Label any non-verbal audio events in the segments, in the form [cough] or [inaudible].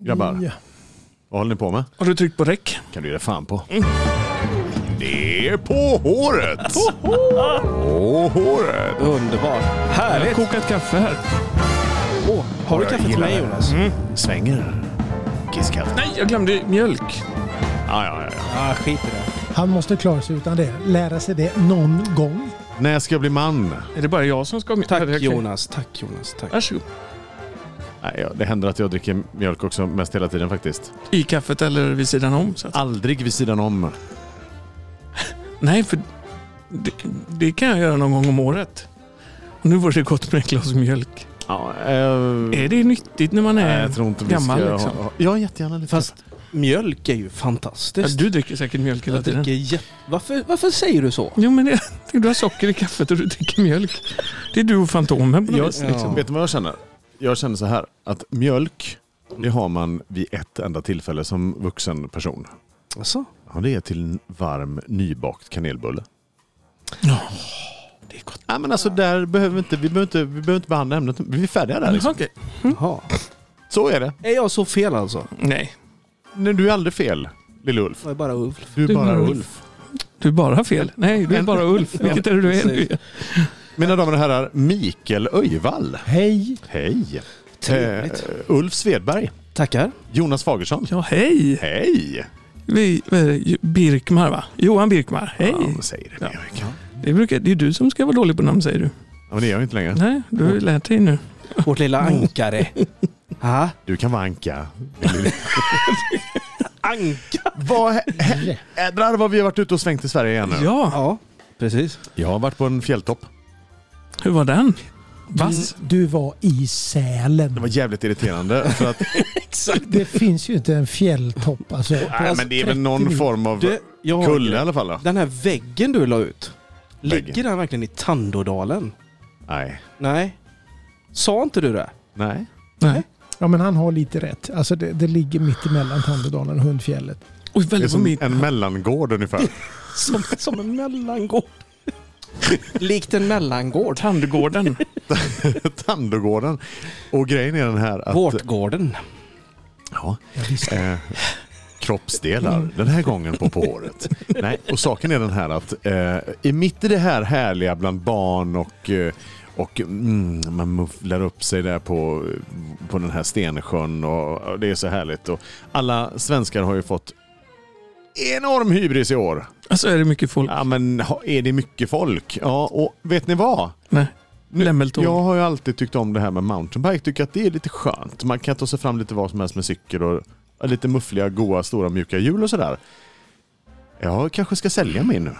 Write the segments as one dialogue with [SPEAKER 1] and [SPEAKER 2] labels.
[SPEAKER 1] Grabbar,
[SPEAKER 2] Ja.
[SPEAKER 1] vad håller ni på med?
[SPEAKER 3] Har du tryckt på räck?
[SPEAKER 1] kan du ge dig fan på. Det är på håret! På håret!
[SPEAKER 2] Underbart. Härligt.
[SPEAKER 3] Kokat kaffe här.
[SPEAKER 2] Åh, har du
[SPEAKER 1] Jag
[SPEAKER 2] kaffe till
[SPEAKER 1] gillar
[SPEAKER 2] mig
[SPEAKER 1] det. Mm.
[SPEAKER 2] Jonas?
[SPEAKER 1] Svänger. Kisskaffe.
[SPEAKER 3] Nej, jag glömde mjölk.
[SPEAKER 1] Ja, ja, ja, ja.
[SPEAKER 2] Ah, skit i det.
[SPEAKER 4] Han måste klara sig utan det. Lära sig det någon gång.
[SPEAKER 1] När ska jag bli man?
[SPEAKER 3] Är det bara jag som ska ha mjölk?
[SPEAKER 2] Tack
[SPEAKER 3] Eller jag kan-
[SPEAKER 2] Jonas, tack Jonas, tack.
[SPEAKER 3] Varsågod.
[SPEAKER 1] Nej, ja, det händer att jag dricker mjölk också mest hela tiden faktiskt.
[SPEAKER 3] I kaffet eller vid sidan om. Så att,
[SPEAKER 1] Aldrig vid sidan om.
[SPEAKER 3] nej, för det, det kan jag göra någon gång om året. Och nu vore det gott med ett glas mjölk.
[SPEAKER 1] Ja, eh,
[SPEAKER 3] Är det nyttigt när man
[SPEAKER 1] nej,
[SPEAKER 3] är...
[SPEAKER 1] jag tror inte vi
[SPEAKER 3] gammal,
[SPEAKER 1] ska
[SPEAKER 3] liksom.
[SPEAKER 1] ha, ha, Ja, jättegärna lite.
[SPEAKER 2] Fast
[SPEAKER 1] kaffe.
[SPEAKER 2] mjölk är ju
[SPEAKER 3] Ja,
[SPEAKER 2] fantastiskt.
[SPEAKER 3] du dricker säkert mjölk hela
[SPEAKER 2] jag
[SPEAKER 3] tiden.
[SPEAKER 2] dricker jätte... varför, varför säger du så?
[SPEAKER 3] Jo, men det, du har socker i kaffet och du dricker mjölk. Det är du och Fantomen på något
[SPEAKER 1] Jag,
[SPEAKER 3] vis.
[SPEAKER 2] liksom.
[SPEAKER 1] Vet du vad jag känner? Jag känner så här att mjölk, det har man vid ett enda tillfälle som vuxen person.
[SPEAKER 2] Alltså?
[SPEAKER 1] Ja, det är till en varm nybakt kanelbulle.
[SPEAKER 3] Ja, det är gott.
[SPEAKER 1] Nej men alltså där behöver vi inte, vi behöver inte, vi behöver inte behandla ämnet. Vi är färdiga där liksom.
[SPEAKER 3] Okej.
[SPEAKER 2] Jaha.
[SPEAKER 1] Så är det.
[SPEAKER 2] Är jag så fel alltså?
[SPEAKER 3] Nej,
[SPEAKER 1] Nej, Du är aldrig fel, lille Ulf.
[SPEAKER 2] Jag är bara Ulf.
[SPEAKER 1] Du är
[SPEAKER 3] Du är
[SPEAKER 1] bara
[SPEAKER 3] Ulf.
[SPEAKER 1] Ulf.
[SPEAKER 3] du är bara fel. Nej, du är bara Ulf. Vilket är det du är?
[SPEAKER 2] precis.
[SPEAKER 3] Du-
[SPEAKER 1] Mina damer och herrar, Mikael Öjvall.
[SPEAKER 4] Hej!
[SPEAKER 1] Hej.
[SPEAKER 2] Trevligt.
[SPEAKER 1] Eh, Ulf Svedberg.
[SPEAKER 2] Tackar.
[SPEAKER 1] Jonas Fagersson.
[SPEAKER 3] Ja, hej!
[SPEAKER 1] Hej.
[SPEAKER 3] Vi, vad är det? Jo- Birkmar, va? Johan Birkmar. Hej!
[SPEAKER 1] Ja, men säg det.
[SPEAKER 3] Ja.
[SPEAKER 1] Ja. Ja,
[SPEAKER 3] Det, brukar, det är du som ska vara dålig på namn, säger du.
[SPEAKER 1] men det gör jag inte längre.
[SPEAKER 3] Nej, du har ju lärt dig nu.
[SPEAKER 2] Vårt lilla ankare. Ha?
[SPEAKER 1] Du kan vara Anka.
[SPEAKER 3] [laughs]
[SPEAKER 2] Anka?
[SPEAKER 1] vad hä- Jädrar vad vi har varit ute och svängt i Sverige igen nu.
[SPEAKER 3] Ja,
[SPEAKER 2] Ja, precis.
[SPEAKER 1] Jag har varit på en fjälltopp.
[SPEAKER 3] hur var den? Vass?
[SPEAKER 4] Du var i Sälen.
[SPEAKER 1] Det var jävligt irriterande. För att,
[SPEAKER 2] Exakt.
[SPEAKER 4] Det finns ju inte en fjälltopp.
[SPEAKER 1] [laughs]
[SPEAKER 4] Alltså,
[SPEAKER 1] nej, men det är väl
[SPEAKER 4] 30
[SPEAKER 1] någon
[SPEAKER 4] mil.
[SPEAKER 1] form av
[SPEAKER 2] Du, jag har
[SPEAKER 1] kulle i alla fall. Då.
[SPEAKER 2] Den här väggen du la ut.
[SPEAKER 1] Väggen.
[SPEAKER 2] Ligger den verkligen i Tandådalen?
[SPEAKER 1] Nej.
[SPEAKER 2] Nej. Sa inte du det?
[SPEAKER 1] Nej.
[SPEAKER 3] Nej.
[SPEAKER 4] Ja, men han har lite rätt. Alltså, det, det ligger mitt emellan Tandedalen och Hundfjället.
[SPEAKER 3] Oj,
[SPEAKER 1] Det är
[SPEAKER 3] väldigt på
[SPEAKER 1] som
[SPEAKER 3] mitt.
[SPEAKER 1] en mellangård [laughs] ungefär.
[SPEAKER 2] Som, som en mellangård. Likt en
[SPEAKER 1] [laughs]
[SPEAKER 2] mellangård.
[SPEAKER 3] Tandgården.
[SPEAKER 1] Tandogården. Och grejen är den här att...
[SPEAKER 2] Vårtgården.
[SPEAKER 1] Ja,
[SPEAKER 4] Ja, visst. Mm.
[SPEAKER 1] eh, kroppsdelar. Den här gången på, på håret. Nej, och saken är den här att eh, i mitt i det här härliga bland barn och eh, och mm, man mufflar upp sig där på, på den här Stensjön och, och det är så härligt. Och alla svenskar har ju fått enorm hybris i år.
[SPEAKER 3] Alltså är det mycket folk?
[SPEAKER 1] Ja men ha- är det mycket folk? Ja och vet ni vad?
[SPEAKER 3] Nej.
[SPEAKER 1] Nu-
[SPEAKER 3] Lämmeltåg.
[SPEAKER 1] Jag har ju alltid tyckt om det här med mountainbike. Tycker att det är lite skönt. Man kan ta sig fram lite vad som helst med cykel och och lite muffliga, goa, stora, mjuka hjul och sådär. Jag kanske ska sälja min nu.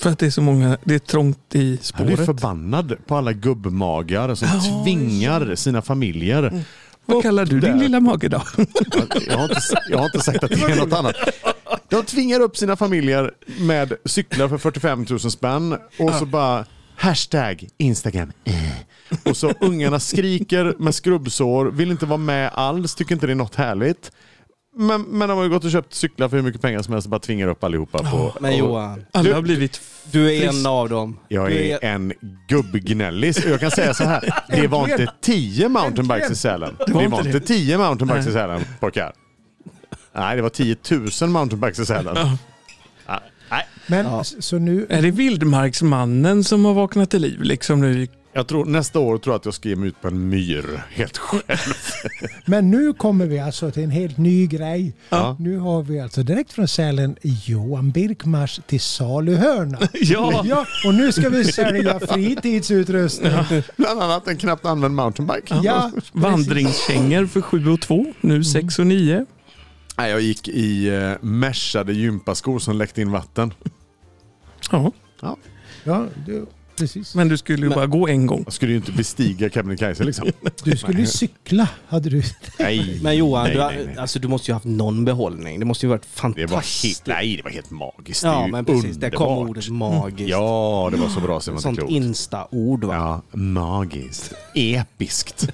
[SPEAKER 3] För att det är så många, det är trångt i
[SPEAKER 1] Jag blir
[SPEAKER 3] spåret.
[SPEAKER 1] förbannad på alla gubbmagar som
[SPEAKER 3] Ja,
[SPEAKER 1] tvingar sina familjer.
[SPEAKER 3] Vad kallar du din
[SPEAKER 1] där.
[SPEAKER 3] lilla
[SPEAKER 1] [laughs]
[SPEAKER 3] mage då?
[SPEAKER 1] Att- Jag har, inte, jag har inte sagt att det är något annat. De tvingar upp sina familjer med cyklar för 45 000 spänn och så bara hashtag Instagram. Eh. Och så ungarna skriker med skrubbsår, vill inte vara med alls, tycker inte det är något härligt. Men, men de har ju gått och köpt cyklar för hur mycket pengar som helst och bara tvingar upp allihopa. På,
[SPEAKER 2] Men
[SPEAKER 1] och-
[SPEAKER 2] Johan,
[SPEAKER 3] Alla har blivit...
[SPEAKER 2] du är
[SPEAKER 3] Frisk.
[SPEAKER 2] en av dem.
[SPEAKER 1] jag
[SPEAKER 2] du
[SPEAKER 1] är en gubbgnällis och jag kan säga så här. Det var inte tio mountainbikes i Sälen. Det var inte tio mountainbikes i Sälen, pojkar. Nej, det var 10 000 mountainbikes i Sälen. Ja, Nej,
[SPEAKER 4] Men
[SPEAKER 2] Ja.
[SPEAKER 4] s- så nu...
[SPEAKER 3] Är det vildmarksmannen som har vaknat till liv liksom nu?
[SPEAKER 1] jag tror, nästa år tror jag att jag ska ge mig ut på en myr helt själv. [laughs]
[SPEAKER 4] Men nu kommer vi alltså till en helt ny grej.
[SPEAKER 1] Ja.
[SPEAKER 4] Nu har vi alltså direkt från Sälen Johan Birkmars till saluhörna.
[SPEAKER 1] [laughs]
[SPEAKER 3] Ja!
[SPEAKER 4] Ja, och nu ska vi sälja fritidsutrustning.
[SPEAKER 1] Bland annat en knappt använd mountainbike.
[SPEAKER 4] Ja,
[SPEAKER 3] Vandringskängor för 7 och 2, nu 6 och 9.
[SPEAKER 1] Nej, jag gick i eh, meshade gympaskor som läckte in vatten.
[SPEAKER 3] Ja,
[SPEAKER 1] Ja.
[SPEAKER 4] ja du, precis.
[SPEAKER 3] men du skulle ju
[SPEAKER 2] Men-
[SPEAKER 3] bara gå en gång.
[SPEAKER 1] Jag skulle ju inte bestiga Kebnekaise liksom.
[SPEAKER 4] Du skulle ju cykla, hade du.
[SPEAKER 1] Nej,
[SPEAKER 2] Men Johan,
[SPEAKER 1] nej,
[SPEAKER 2] du, har-
[SPEAKER 1] nej, nej.
[SPEAKER 2] Alltså, du måste ju ha haft någon behållning. Det måste ju varit
[SPEAKER 1] Det var helt,
[SPEAKER 2] fantastiskt.
[SPEAKER 1] nej, det var helt magiskt. det är
[SPEAKER 2] ja,
[SPEAKER 1] ju
[SPEAKER 2] men precis. Där kom
[SPEAKER 1] underbart. Mm.
[SPEAKER 2] ordet magiskt.
[SPEAKER 1] Ja, det var så bra så det var inte
[SPEAKER 2] Sånt
[SPEAKER 1] klokt.
[SPEAKER 2] insta-ord va?
[SPEAKER 1] Ja, magiskt. Episkt.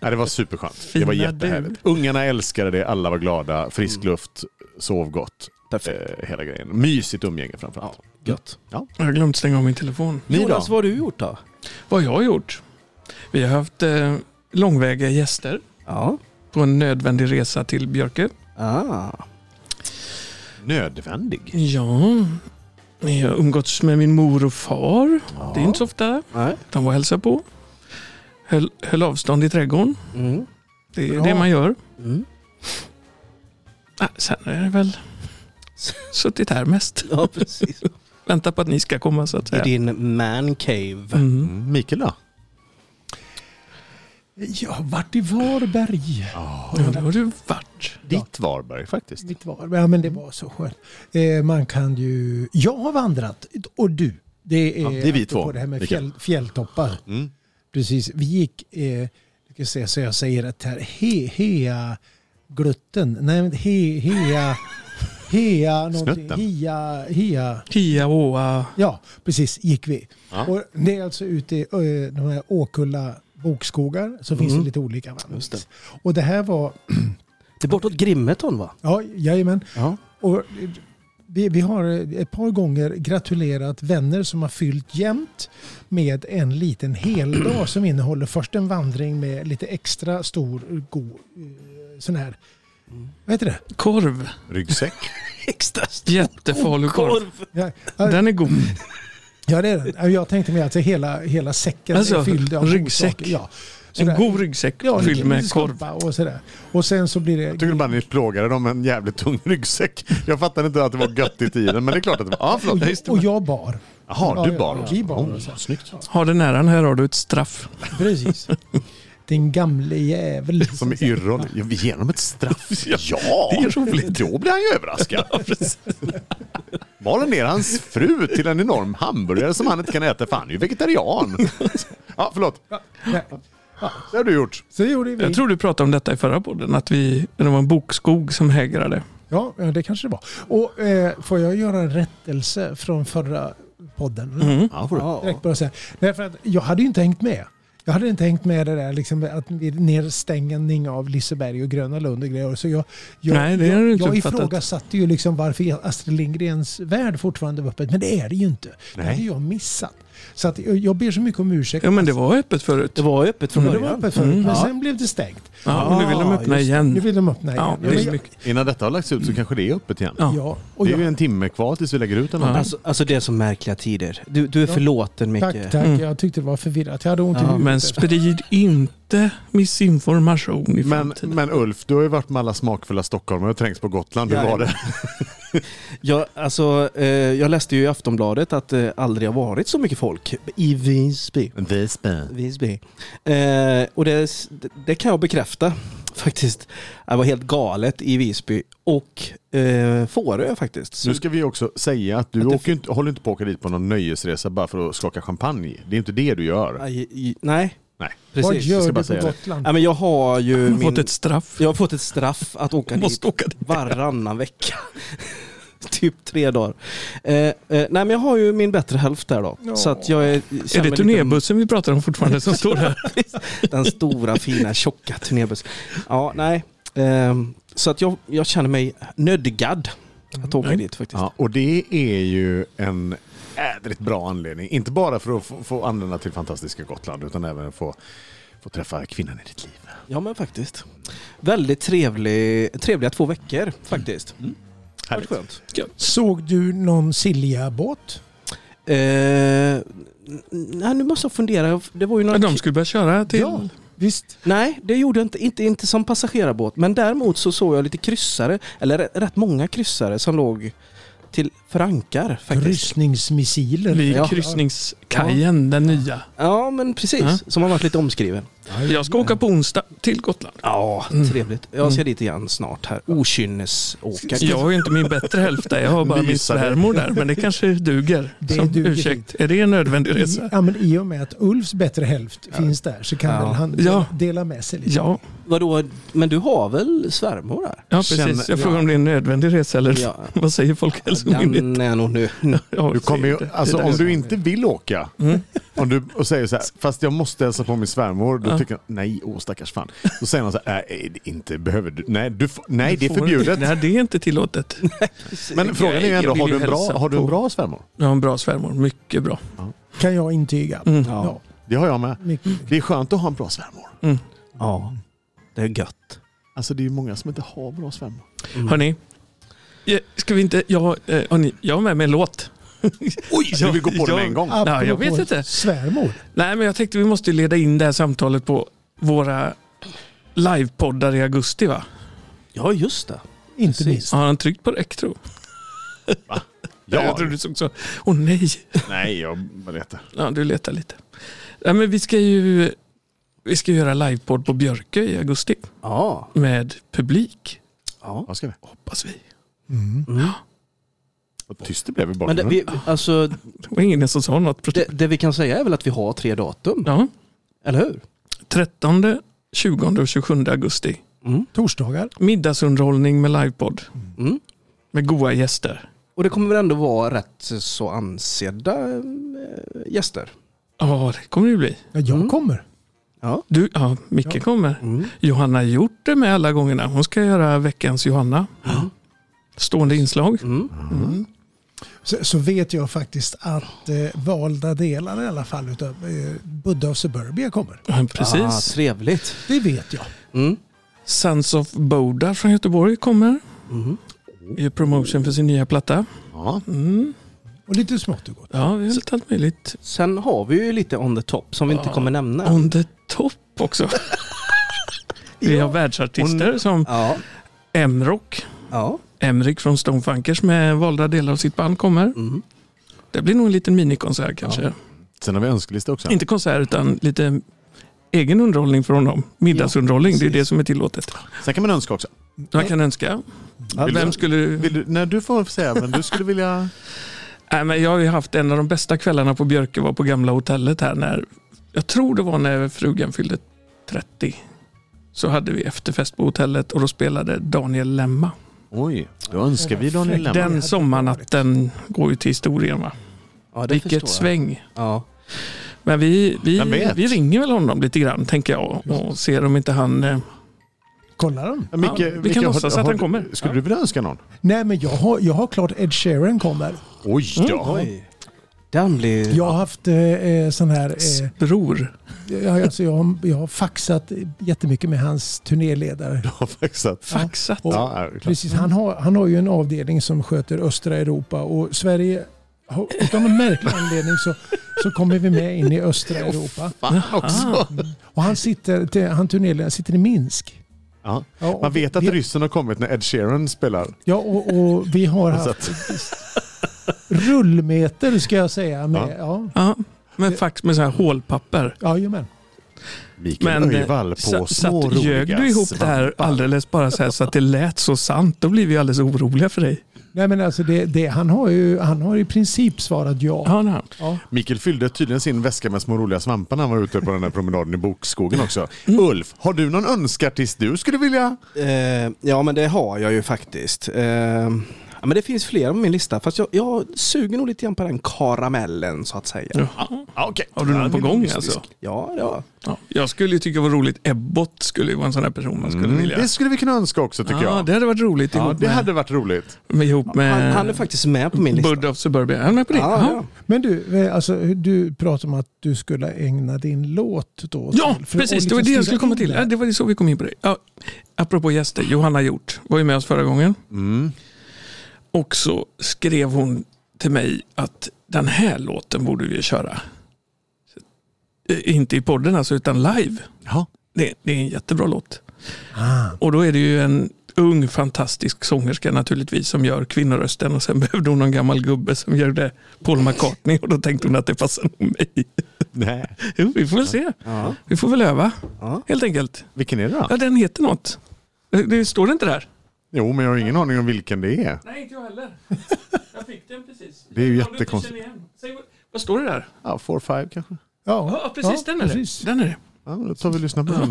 [SPEAKER 1] ja, det var superskönt. Det var
[SPEAKER 3] Fina
[SPEAKER 1] jättehärligt. Ungarna älskade det, alla var glada, frisk luft, sov gott.
[SPEAKER 2] Perfekt.
[SPEAKER 1] Eh, hela grejen. Mysigt umgänge framförallt.
[SPEAKER 2] Gött.
[SPEAKER 3] Jag har glömt stänga av min telefon.
[SPEAKER 1] Ni då?
[SPEAKER 2] Jonas, vad har du gjort då?
[SPEAKER 3] Vad har jag gjort? Vi har haft eh, långväga gäster
[SPEAKER 2] Ja.
[SPEAKER 3] på och en nödvändig resa till Björke.
[SPEAKER 2] Ah.
[SPEAKER 1] Nödvändig.
[SPEAKER 3] Ja, jag har umgåtts med min mor och far. Det är inte så ofta.
[SPEAKER 2] Nej.
[SPEAKER 3] De var och hälsade på. Höll, höll avstånd i trädgården.
[SPEAKER 2] Mm.
[SPEAKER 3] Det är
[SPEAKER 2] Bra.
[SPEAKER 3] det man gör.
[SPEAKER 2] Mm.
[SPEAKER 3] Ah, sen är det väl suttit här mest.
[SPEAKER 2] Ja,
[SPEAKER 1] [laughs]
[SPEAKER 2] precis.
[SPEAKER 3] Väntat på att ni ska komma så att
[SPEAKER 2] I
[SPEAKER 3] säga.
[SPEAKER 2] din man cave.
[SPEAKER 3] Mm.
[SPEAKER 1] Mm. Mikael då?
[SPEAKER 4] Jag har varit i Varberg.
[SPEAKER 3] Ja, det har du varit.
[SPEAKER 1] Ditt Varberg faktiskt.
[SPEAKER 4] Mitt Varberg. Ja, men det var så skönt. Eh, man kan ju... Jag har vandrat och du. Det är,
[SPEAKER 1] Ja, det är vi
[SPEAKER 4] apropå
[SPEAKER 1] två,
[SPEAKER 4] Det här med
[SPEAKER 1] Mikael.
[SPEAKER 4] fjäll, fjälltoppar.
[SPEAKER 1] Mm.
[SPEAKER 4] Precis. Vi gick, eh, ska jag säga, så jag säger rätt här, he, hea glutten. Nej, men he, hea,
[SPEAKER 1] [laughs]
[SPEAKER 4] hea någonting.
[SPEAKER 1] Snutten.
[SPEAKER 4] Hea, hea.
[SPEAKER 3] Kia, Åa.
[SPEAKER 4] Ja, precis. Gick vi.
[SPEAKER 1] Ja.
[SPEAKER 4] Och det är alltså ute i ö, de här Åkulla bokskogar så
[SPEAKER 1] Mm.
[SPEAKER 4] finns det lite olika
[SPEAKER 2] Just det.
[SPEAKER 4] vandrings. Och det här var,
[SPEAKER 2] Det är bortåt Grimmeton va?
[SPEAKER 4] ja, jajamän.
[SPEAKER 2] Ja.
[SPEAKER 4] Och vi, vi har eh, ett par gånger gratulerat vänner som har fyllt jämnt med en
[SPEAKER 3] [clears throat]
[SPEAKER 4] liten heldag som innehåller först en vandring med lite extra stor god eh, sån här,
[SPEAKER 3] Mm.
[SPEAKER 4] vad heter det?
[SPEAKER 3] Korv.
[SPEAKER 1] Ryggsäck.
[SPEAKER 2] Extra
[SPEAKER 3] Jättefarlig korv.
[SPEAKER 4] Ja,
[SPEAKER 3] Den är god.
[SPEAKER 4] ja det är den. Ja, Jag tänkte mig alltså hela, hela säcken
[SPEAKER 3] Alltså,
[SPEAKER 4] är fylld av
[SPEAKER 3] ryggsäck.
[SPEAKER 4] godsaker. Ja.
[SPEAKER 3] En
[SPEAKER 4] Sådär.
[SPEAKER 3] god ryggsäck
[SPEAKER 4] Ja,
[SPEAKER 3] fylld
[SPEAKER 4] lite
[SPEAKER 3] med korv.
[SPEAKER 4] skorpa Och, sådär. och sen så blir
[SPEAKER 1] Jag
[SPEAKER 4] det...
[SPEAKER 1] tycker bara ni plågade dem med en jävligt tung ryggsäck. Jag fattade inte att det var göttigt i den, men det är klart att det var. Ja, förlåt.
[SPEAKER 4] Och, och jag bar.
[SPEAKER 1] Jaha, du
[SPEAKER 4] Ja,
[SPEAKER 1] bar
[SPEAKER 4] ja,
[SPEAKER 1] också.
[SPEAKER 4] vi bar
[SPEAKER 1] Oh,
[SPEAKER 4] också.
[SPEAKER 1] Snyggt.
[SPEAKER 3] Har den äran, här har du ett straff. [laughs]
[SPEAKER 4] Precis. Din gamle jävel.
[SPEAKER 1] Som Yrrol. Ja, vi ger honom ett straff. Ja,
[SPEAKER 3] det är roligt.
[SPEAKER 1] Då blir han ju överraskad. [laughs] Bar han ner hans fru till en enorm hamburgare som han inte kan äta för han är ju vegetarian. Ja, förlåt.
[SPEAKER 4] Nej,
[SPEAKER 1] Det har du gjort.
[SPEAKER 4] Så gjorde vi.
[SPEAKER 3] Jag tror du pratade om detta i förra podden, att vi, det var en bokskog som hägrade.
[SPEAKER 4] Ja, ja, det kanske det var. Och eh, får jag göra en rättelse från förra podden?
[SPEAKER 3] Mm.
[SPEAKER 1] Ja, får du.
[SPEAKER 4] Direkt bara säga. Nej, för att jag hade ju inte hängt med. Jag hade inte hängt med det där liksom, att vid nedstängning av Liseberg och Gröna Lund och grejer. Så jag, jag,
[SPEAKER 3] Nej, det har
[SPEAKER 4] jag,
[SPEAKER 3] du inte
[SPEAKER 4] jag
[SPEAKER 3] uppfattat.
[SPEAKER 4] ifrågasatte ju liksom varför Astrid Lindgrens värld fortfarande var öppet. Men det är det ju inte. Det
[SPEAKER 1] Nej.
[SPEAKER 4] hade jag missat. Så att, jag, jag ber så mycket om ursäkt.
[SPEAKER 3] Ja, men det var Mm. öppet förut.
[SPEAKER 2] Det var ju öppet från
[SPEAKER 4] Men Mm. det
[SPEAKER 2] början.
[SPEAKER 4] var öppet förut, men sen blev det stängt.
[SPEAKER 3] Ja, och nu vill de
[SPEAKER 2] Ah,
[SPEAKER 3] öppna
[SPEAKER 2] just
[SPEAKER 4] Nu
[SPEAKER 3] igen.
[SPEAKER 4] vill de öppna igen.
[SPEAKER 3] Mm. Ja,
[SPEAKER 4] Ja, men
[SPEAKER 3] det är
[SPEAKER 4] jag-
[SPEAKER 3] mycket.
[SPEAKER 1] Innan detta har lagts ut så kanske det är öppet igen.
[SPEAKER 3] Ja.
[SPEAKER 4] ja, och
[SPEAKER 1] Det är
[SPEAKER 4] jag,
[SPEAKER 1] ju en timme kvar tills vi lägger ut den.
[SPEAKER 3] Ja.
[SPEAKER 1] här.
[SPEAKER 2] Alltså, alltså det är så märkliga tider. Du, du är
[SPEAKER 4] Ja.
[SPEAKER 2] förlåten Micke.
[SPEAKER 4] Tack, tack. Jag tyckte det var förvirrat. Jag hade ont
[SPEAKER 2] Ja,
[SPEAKER 4] i huvudet.
[SPEAKER 3] Mm. Men sprid inte missinformation i
[SPEAKER 1] Men,
[SPEAKER 2] eh,
[SPEAKER 3] framtiden.
[SPEAKER 1] men Ulf, du har ju varit med alla smakfulla stockholmare och trängts på Gotland. Hur var det?
[SPEAKER 2] Jag, alltså, eh, jag läste ju i Aftonbladet att det aldrig har varit så mycket folk i Visby.
[SPEAKER 1] Visby.
[SPEAKER 2] Visby. Eh, och det, det kan jag bekräfta faktiskt. Det var helt galet i Visby och eh, Fårö faktiskt. Så,
[SPEAKER 1] Nu ska vi också säga att du
[SPEAKER 2] Att det-
[SPEAKER 1] åker ju inte, håller inte på att åka dit på någon nöjesresa bara för att skaka champagne. Det är inte det du gör.
[SPEAKER 2] aj, i, nej.
[SPEAKER 1] Nej.
[SPEAKER 4] Vad
[SPEAKER 2] precis.
[SPEAKER 1] jag
[SPEAKER 4] gör
[SPEAKER 1] ska bara
[SPEAKER 4] du
[SPEAKER 1] säga
[SPEAKER 4] på
[SPEAKER 1] det.
[SPEAKER 4] Gotland?
[SPEAKER 2] Ja, men jag har ju
[SPEAKER 3] Jag har
[SPEAKER 2] min,
[SPEAKER 3] fått ett straff.
[SPEAKER 2] jag har fått ett straff att åka
[SPEAKER 3] Jag
[SPEAKER 2] dit
[SPEAKER 3] måste åka dit.
[SPEAKER 2] varannan vecka. [laughs] typ tre dagar. Eh, eh, nej men jag har ju min bättre hälft där då.
[SPEAKER 4] Ja.
[SPEAKER 2] Så att jag är,
[SPEAKER 3] Är
[SPEAKER 2] känner
[SPEAKER 3] det
[SPEAKER 2] mig lite-
[SPEAKER 3] turnébussen vi pratar om fortfarande som står där?
[SPEAKER 2] [laughs] Den stora fina tjocka turnébussen. Ja, nej. Ehm, så att jag, jag känner mig nödgad att åka dit faktiskt.
[SPEAKER 1] Ja, och det är ju en ädrigt bra anledning. Inte bara för att få, få använda till fantastiska Gotland utan även få, få träffa kvinnan i ditt liv.
[SPEAKER 2] Ja men faktiskt. Väldigt trevlig, trevliga två veckor faktiskt. Mm.
[SPEAKER 1] Härligt.
[SPEAKER 2] skönt.
[SPEAKER 4] Såg du någon Silja-båt?
[SPEAKER 2] Eh, nej, nu måste jag fundera. Det var ju några...
[SPEAKER 3] De skulle börja köra till...
[SPEAKER 4] Ja, visst.
[SPEAKER 2] Nej, det gjorde jag inte, inte. Inte som passagerarbåt. Men däremot så såg jag lite kryssare, eller rätt- rätt många kryssare som låg till förankar faktiskt.
[SPEAKER 4] Kryssningsmissiler.
[SPEAKER 3] Vid
[SPEAKER 2] Ja.
[SPEAKER 3] kryssningskajen, den nya.
[SPEAKER 2] Ja men precis,
[SPEAKER 3] Ja.
[SPEAKER 2] som har varit lite omskriven.
[SPEAKER 3] Jag ska åka på onsdag till Gotland.
[SPEAKER 2] Ja,
[SPEAKER 3] Mm.
[SPEAKER 2] trevligt. Jag ska dit igen snart här. Okynnesåkare.
[SPEAKER 3] Jag har ju inte min bättre hälft där, jag har bara min
[SPEAKER 1] Lysare.
[SPEAKER 3] svärmor där. Men det kanske duger.
[SPEAKER 4] Det
[SPEAKER 3] som
[SPEAKER 4] duger
[SPEAKER 3] ursäkt. Är det en nödvändig
[SPEAKER 4] I,
[SPEAKER 3] resa?
[SPEAKER 4] ja, men I och med att Ulfs bättre hälft finns där så kan
[SPEAKER 2] Ja.
[SPEAKER 4] väl han
[SPEAKER 3] Ja.
[SPEAKER 4] dela med sig lite.
[SPEAKER 3] Ja,
[SPEAKER 2] Vadå, men du har väl svärmor där?
[SPEAKER 3] ja precis.
[SPEAKER 1] Känner-
[SPEAKER 3] Jag frågar om det är en nödvändig resa eller
[SPEAKER 2] Ja.
[SPEAKER 3] [laughs] vad säger Alltså, Folkhälsomyndigheten?
[SPEAKER 2] Den är nog nu.
[SPEAKER 3] Ja,
[SPEAKER 1] Du kommer ju,
[SPEAKER 3] det- det
[SPEAKER 1] alltså,
[SPEAKER 3] där Mm.
[SPEAKER 1] om
[SPEAKER 3] är-
[SPEAKER 1] du inte vill åka om du, och säger så här, fast jag måste hälsa på min svärmor, då tycker jag, nej, åh stackars fan. Då säger någon så här, nej, det inte behöver du, nej, du, får- nej det är
[SPEAKER 3] får du-
[SPEAKER 1] förbjudet.
[SPEAKER 3] Nej, det är inte tillåtet.
[SPEAKER 1] Men frågan är ju
[SPEAKER 3] jag
[SPEAKER 1] ändå,
[SPEAKER 3] vill
[SPEAKER 1] har du
[SPEAKER 3] ju
[SPEAKER 1] en bra,
[SPEAKER 3] hälsa
[SPEAKER 1] har du en
[SPEAKER 3] på-
[SPEAKER 1] bra svärmor?
[SPEAKER 3] Jag har en bra svärmor, mycket bra.
[SPEAKER 4] Kan jag intyga.
[SPEAKER 3] Mm.
[SPEAKER 2] Ja.
[SPEAKER 4] Ja.
[SPEAKER 1] Det har jag med.
[SPEAKER 4] mycket.
[SPEAKER 1] Det är skönt att ha en bra svärmor.
[SPEAKER 2] ja, det är gött.
[SPEAKER 1] Alltså det är ju många som inte har bra svärmor.
[SPEAKER 3] Hörni, ja, ska vi inte... Jag, eh, hörni, jag har med mig en låt.
[SPEAKER 1] Oj! Du vill gå på den
[SPEAKER 3] jag-
[SPEAKER 1] med en gång.
[SPEAKER 3] Nej, jag vet
[SPEAKER 4] Apropå
[SPEAKER 3] inte.
[SPEAKER 4] Svärmor.
[SPEAKER 3] Nej, men jag tänkte vi måste leda in det här samtalet på våra livepoddar i augusti va?
[SPEAKER 2] Ja, just det.
[SPEAKER 4] Inte
[SPEAKER 2] Precis.
[SPEAKER 4] minst.
[SPEAKER 3] Har han tryckt på rec tro?
[SPEAKER 1] Ja.
[SPEAKER 3] Jag trodde du såg så. Åh nej!
[SPEAKER 1] Nej, jag berättar.
[SPEAKER 3] Ja, du letar lite. Nej, men vi ska ju vi ska göra livepodd på Björkö i augusti
[SPEAKER 2] Ja.
[SPEAKER 3] med publik,
[SPEAKER 2] ja.
[SPEAKER 1] Vad ska vi?
[SPEAKER 3] hoppas vi.
[SPEAKER 4] Mm.
[SPEAKER 1] Vad tyst det blev Mm. i
[SPEAKER 2] Men det,
[SPEAKER 1] bakgrunden.
[SPEAKER 2] vi, alltså,
[SPEAKER 3] Det var ingen som sa något.
[SPEAKER 2] det, det vi kan säga är väl att vi har tre datum,
[SPEAKER 3] Ja,
[SPEAKER 2] eller hur?
[SPEAKER 3] 13, 20 och 27 augusti.
[SPEAKER 2] Mm.
[SPEAKER 4] Torsdagar.
[SPEAKER 3] Middagsunderhållning med livepodd
[SPEAKER 2] Mm.
[SPEAKER 3] med goa gäster.
[SPEAKER 2] Och det kommer väl ändå vara rätt så ansedda eh, gäster.
[SPEAKER 3] Ja, det kommer det ju bli.
[SPEAKER 4] Ja, jag
[SPEAKER 2] Mm.
[SPEAKER 4] kommer.
[SPEAKER 2] Ja.
[SPEAKER 3] Du, ja, Micke
[SPEAKER 4] Ja.
[SPEAKER 3] kommer.
[SPEAKER 2] Mm.
[SPEAKER 3] Johanna har gjort det med alla gångerna. Hon ska göra veckans Johanna.
[SPEAKER 2] Ja.
[SPEAKER 3] Stående inslag.
[SPEAKER 2] Mm.
[SPEAKER 3] Mm.
[SPEAKER 4] Så, så vet jag faktiskt att eh, valda delar i alla fall utav eh, Buddha och Suburbia kommer.
[SPEAKER 3] Ja,
[SPEAKER 2] Ah,
[SPEAKER 3] Precis.
[SPEAKER 2] trevligt.
[SPEAKER 4] Det vet jag.
[SPEAKER 2] Mm.
[SPEAKER 3] Sons of Boda från Göteborg kommer.
[SPEAKER 2] Mm.
[SPEAKER 3] Gör promotion för sin nya platta.
[SPEAKER 1] Ja.
[SPEAKER 3] Mm.
[SPEAKER 4] Och lite smått och gott.
[SPEAKER 3] Ja, vi har lite allt möjligt.
[SPEAKER 2] Sen har vi ju lite on the top som vi inte
[SPEAKER 3] Ja.
[SPEAKER 2] kommer nämna.
[SPEAKER 3] On the top också. Vi har världsartister som
[SPEAKER 2] Ja.
[SPEAKER 3] Emrock.
[SPEAKER 2] ja.
[SPEAKER 3] Emrik från Stonefunkers med valda delar av sitt band kommer.
[SPEAKER 2] Mm.
[SPEAKER 3] Det blir nog en liten minikonsert kanske.
[SPEAKER 1] Sen har vi önskelista också.
[SPEAKER 3] Inte konsert utan lite egen underhållning från dem. Middagsunderhållning, det är det som är tillåtet.
[SPEAKER 1] Sen kan man önska också.
[SPEAKER 3] Man kan önska.
[SPEAKER 2] Ja,
[SPEAKER 1] Vill
[SPEAKER 3] Vem
[SPEAKER 1] du,
[SPEAKER 3] skulle du...
[SPEAKER 1] vill du, nej, du får säga vem du skulle vilja...
[SPEAKER 3] Nej, men jag har ju haft en av de bästa kvällarna på Björke var på gamla hotellet här när jag tror det var när frugan fyllde 30. Så hade vi efterfest på hotellet och då spelade Daniel Lemma.
[SPEAKER 1] Oj, då önskar vi Daniel Lemma.
[SPEAKER 3] Den sommarnatten går ju till historien va?
[SPEAKER 2] ja, det förstår
[SPEAKER 3] Vilket
[SPEAKER 2] jag.
[SPEAKER 3] sväng.
[SPEAKER 2] Ja.
[SPEAKER 3] Men vi, vi,
[SPEAKER 1] Vem vet?
[SPEAKER 3] vi ringer väl honom lite grann tänker jag och ser om inte han... eh,
[SPEAKER 4] Kolla den.
[SPEAKER 1] Men Micke,
[SPEAKER 3] Ja, vi kan
[SPEAKER 1] Micke, har-
[SPEAKER 3] låtsas att
[SPEAKER 1] har-
[SPEAKER 3] han kommer.
[SPEAKER 1] Skulle
[SPEAKER 3] Ja.
[SPEAKER 1] du vilja önska någon?
[SPEAKER 4] Nej men jag har, jag har klart Ed Sheeran kommer.
[SPEAKER 1] Oj då.
[SPEAKER 3] Mm.
[SPEAKER 2] Oj. Den blir...
[SPEAKER 4] Jag har haft eh, eh, sån här... Eh,
[SPEAKER 3] Bror.
[SPEAKER 4] jag, alltså, jag, har, jag har faxat jättemycket med hans turnéledare.
[SPEAKER 1] [laughs] Du har faxat.
[SPEAKER 3] Faxat.
[SPEAKER 4] Och-
[SPEAKER 1] Ja, är det klart.
[SPEAKER 4] Precis, han har, han har ju en avdelning som sköter östra Europa och Sverige har, utan någon märklig anledning så, så kommer vi med in i östra Europa.
[SPEAKER 1] Fan också.
[SPEAKER 4] Och han sitter, till- han turnerar, sitter i Minsk.
[SPEAKER 1] Ja.
[SPEAKER 4] Ja, och
[SPEAKER 1] Man vet att
[SPEAKER 4] vi,
[SPEAKER 1] ryssen har kommit när Ed Sheeran spelar.
[SPEAKER 4] Ja, och, och vi har
[SPEAKER 1] Så
[SPEAKER 4] haft
[SPEAKER 1] att,
[SPEAKER 4] rullmeter ska jag säga. Med,
[SPEAKER 1] Ja.
[SPEAKER 4] ja.
[SPEAKER 3] Ja, men fax med så här hålpapper.
[SPEAKER 4] Ja, jajamän.
[SPEAKER 1] Mikael
[SPEAKER 3] Men eh,
[SPEAKER 1] Öjvall på
[SPEAKER 3] satt,
[SPEAKER 1] små
[SPEAKER 3] satt,
[SPEAKER 1] roliga
[SPEAKER 3] ljög du ihop det här
[SPEAKER 1] svampar.
[SPEAKER 3] alldeles bara så här så att det lät så sant, då blir vi alldeles oroliga för dig.
[SPEAKER 4] Nej, men alltså det, det, han, har ju, han har i princip svarat ja.
[SPEAKER 3] Ja, nej.
[SPEAKER 4] ja.
[SPEAKER 1] Mikael fyllde tydligen sin väska med små roliga svampar när han var ute på den här promenaden i bokskogen också.
[SPEAKER 3] Mm.
[SPEAKER 1] Ulf, har du någon önskartist du skulle vilja?
[SPEAKER 2] Eh, ja, men det har jag ju faktiskt. Eh, ja, men det finns flera på min lista, fast jag, jag suger nog lite grann på den karamellen så att säga. Ja,
[SPEAKER 3] Jaha.
[SPEAKER 1] Ah, okay.
[SPEAKER 3] Har du någon på gång alltså?
[SPEAKER 2] ja. ja.
[SPEAKER 3] Ja. Jag skulle ju tycka det var roligt, Ebbot skulle ju vara en sån här person man skulle
[SPEAKER 1] Mm,
[SPEAKER 3] vilja.
[SPEAKER 1] det skulle vi kunna önska också tycker
[SPEAKER 3] ja,
[SPEAKER 1] jag.
[SPEAKER 3] det hade varit roligt
[SPEAKER 1] ja,
[SPEAKER 3] ihop
[SPEAKER 1] det
[SPEAKER 3] med,
[SPEAKER 1] hade varit roligt.
[SPEAKER 3] med, ihop med
[SPEAKER 2] Han, han är faktiskt med på min lista.
[SPEAKER 3] Eh. Bud of Suburbia. Är han med på det?
[SPEAKER 2] Ja,
[SPEAKER 3] Jaha.
[SPEAKER 2] ja.
[SPEAKER 4] Men du, eh, alltså, du pratade om att du skulle ägna din låt då.
[SPEAKER 3] Ja,
[SPEAKER 4] till- för att-
[SPEAKER 3] precis.
[SPEAKER 4] och
[SPEAKER 3] Det var det
[SPEAKER 4] liksom
[SPEAKER 3] jag skulle
[SPEAKER 4] styra
[SPEAKER 3] komma
[SPEAKER 4] in
[SPEAKER 3] till.
[SPEAKER 4] där.
[SPEAKER 3] Ja, Det var det så vi kom in på det. Ja, apropå gäster, Johanna Hjort var ju med oss förra gången.
[SPEAKER 1] Mm.
[SPEAKER 3] Och så skrev hon till mig att den här låten borde vi köra. Eh, Inte i podden alltså, utan live.
[SPEAKER 1] Ja.
[SPEAKER 3] Det, det är en jättebra låt.
[SPEAKER 4] Ah.
[SPEAKER 3] Och då är det ju en ung fantastisk sångerska naturligtvis som gör kvinnorösten och sen [laughs] behövde hon någon gammal gubbe som gjorde Paul McCartney och då tänkte hon att det passar nog mig.
[SPEAKER 1] Nej.
[SPEAKER 3] Jo, vi får väl se.
[SPEAKER 2] Ja.
[SPEAKER 3] Vi får väl öva
[SPEAKER 2] Ja.
[SPEAKER 3] helt enkelt.
[SPEAKER 1] Vilken är det då?
[SPEAKER 3] Ja, den heter något. Det- Det står det inte där?
[SPEAKER 1] Jo, men jag har ingen aning om vilken det är.
[SPEAKER 3] Nej, inte jag heller. Jag fick den precis.
[SPEAKER 1] Det är ju Om du inte jättekonstigt.
[SPEAKER 3] Vad står det där?
[SPEAKER 1] Ja, four five kanske.
[SPEAKER 4] Ja,
[SPEAKER 3] Ja, precis den är
[SPEAKER 4] precis.
[SPEAKER 3] det. Den är det.
[SPEAKER 1] Ja, då tar vi och lyssnar på den.
[SPEAKER 5] I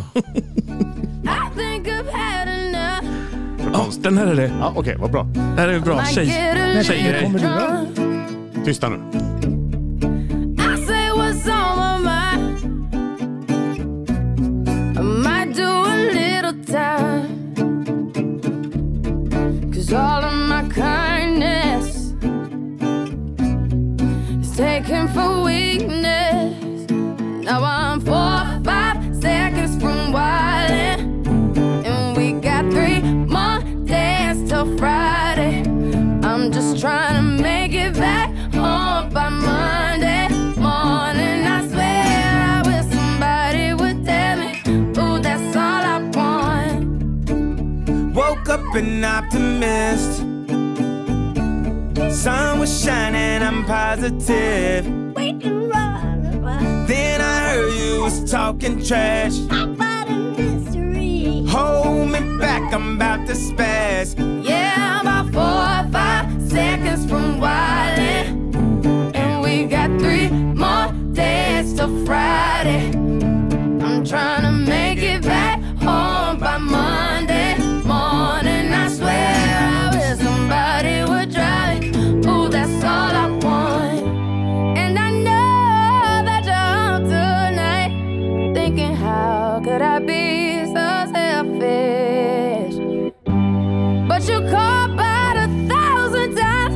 [SPEAKER 5] think I've had enough.
[SPEAKER 3] Ja, den här är det.
[SPEAKER 1] Ja, Okej, vad bra.
[SPEAKER 3] Det här är bra.
[SPEAKER 5] I
[SPEAKER 3] Tjej.
[SPEAKER 5] get a
[SPEAKER 3] tjejer.
[SPEAKER 5] little
[SPEAKER 4] Kommer du då?
[SPEAKER 5] drunk.
[SPEAKER 1] Tysta nu.
[SPEAKER 5] I say what's on my mind. I might do a little time. Cause all of my kindness is taken for weakness. Now I'm four, five seconds from wildin'. And we got trying to make it back home by Monday morning. I swear I wish somebody would tell me, ooh, that's all I want.
[SPEAKER 6] Woke up an optimist. Sun was shining, I'm positive. Then I heard you was talking trash. Hold me back, I'm about to spaz.
[SPEAKER 5] Yeah, I'm about four or five seconds from wildin', and we got three more days till Friday. I'm trying to make it back home by Monday morning. I swear I wish somebody would drive it. Ooh, that's all I want. And I know that you're up tonight, thinking how could I be so selfish? But you called about a thousand times,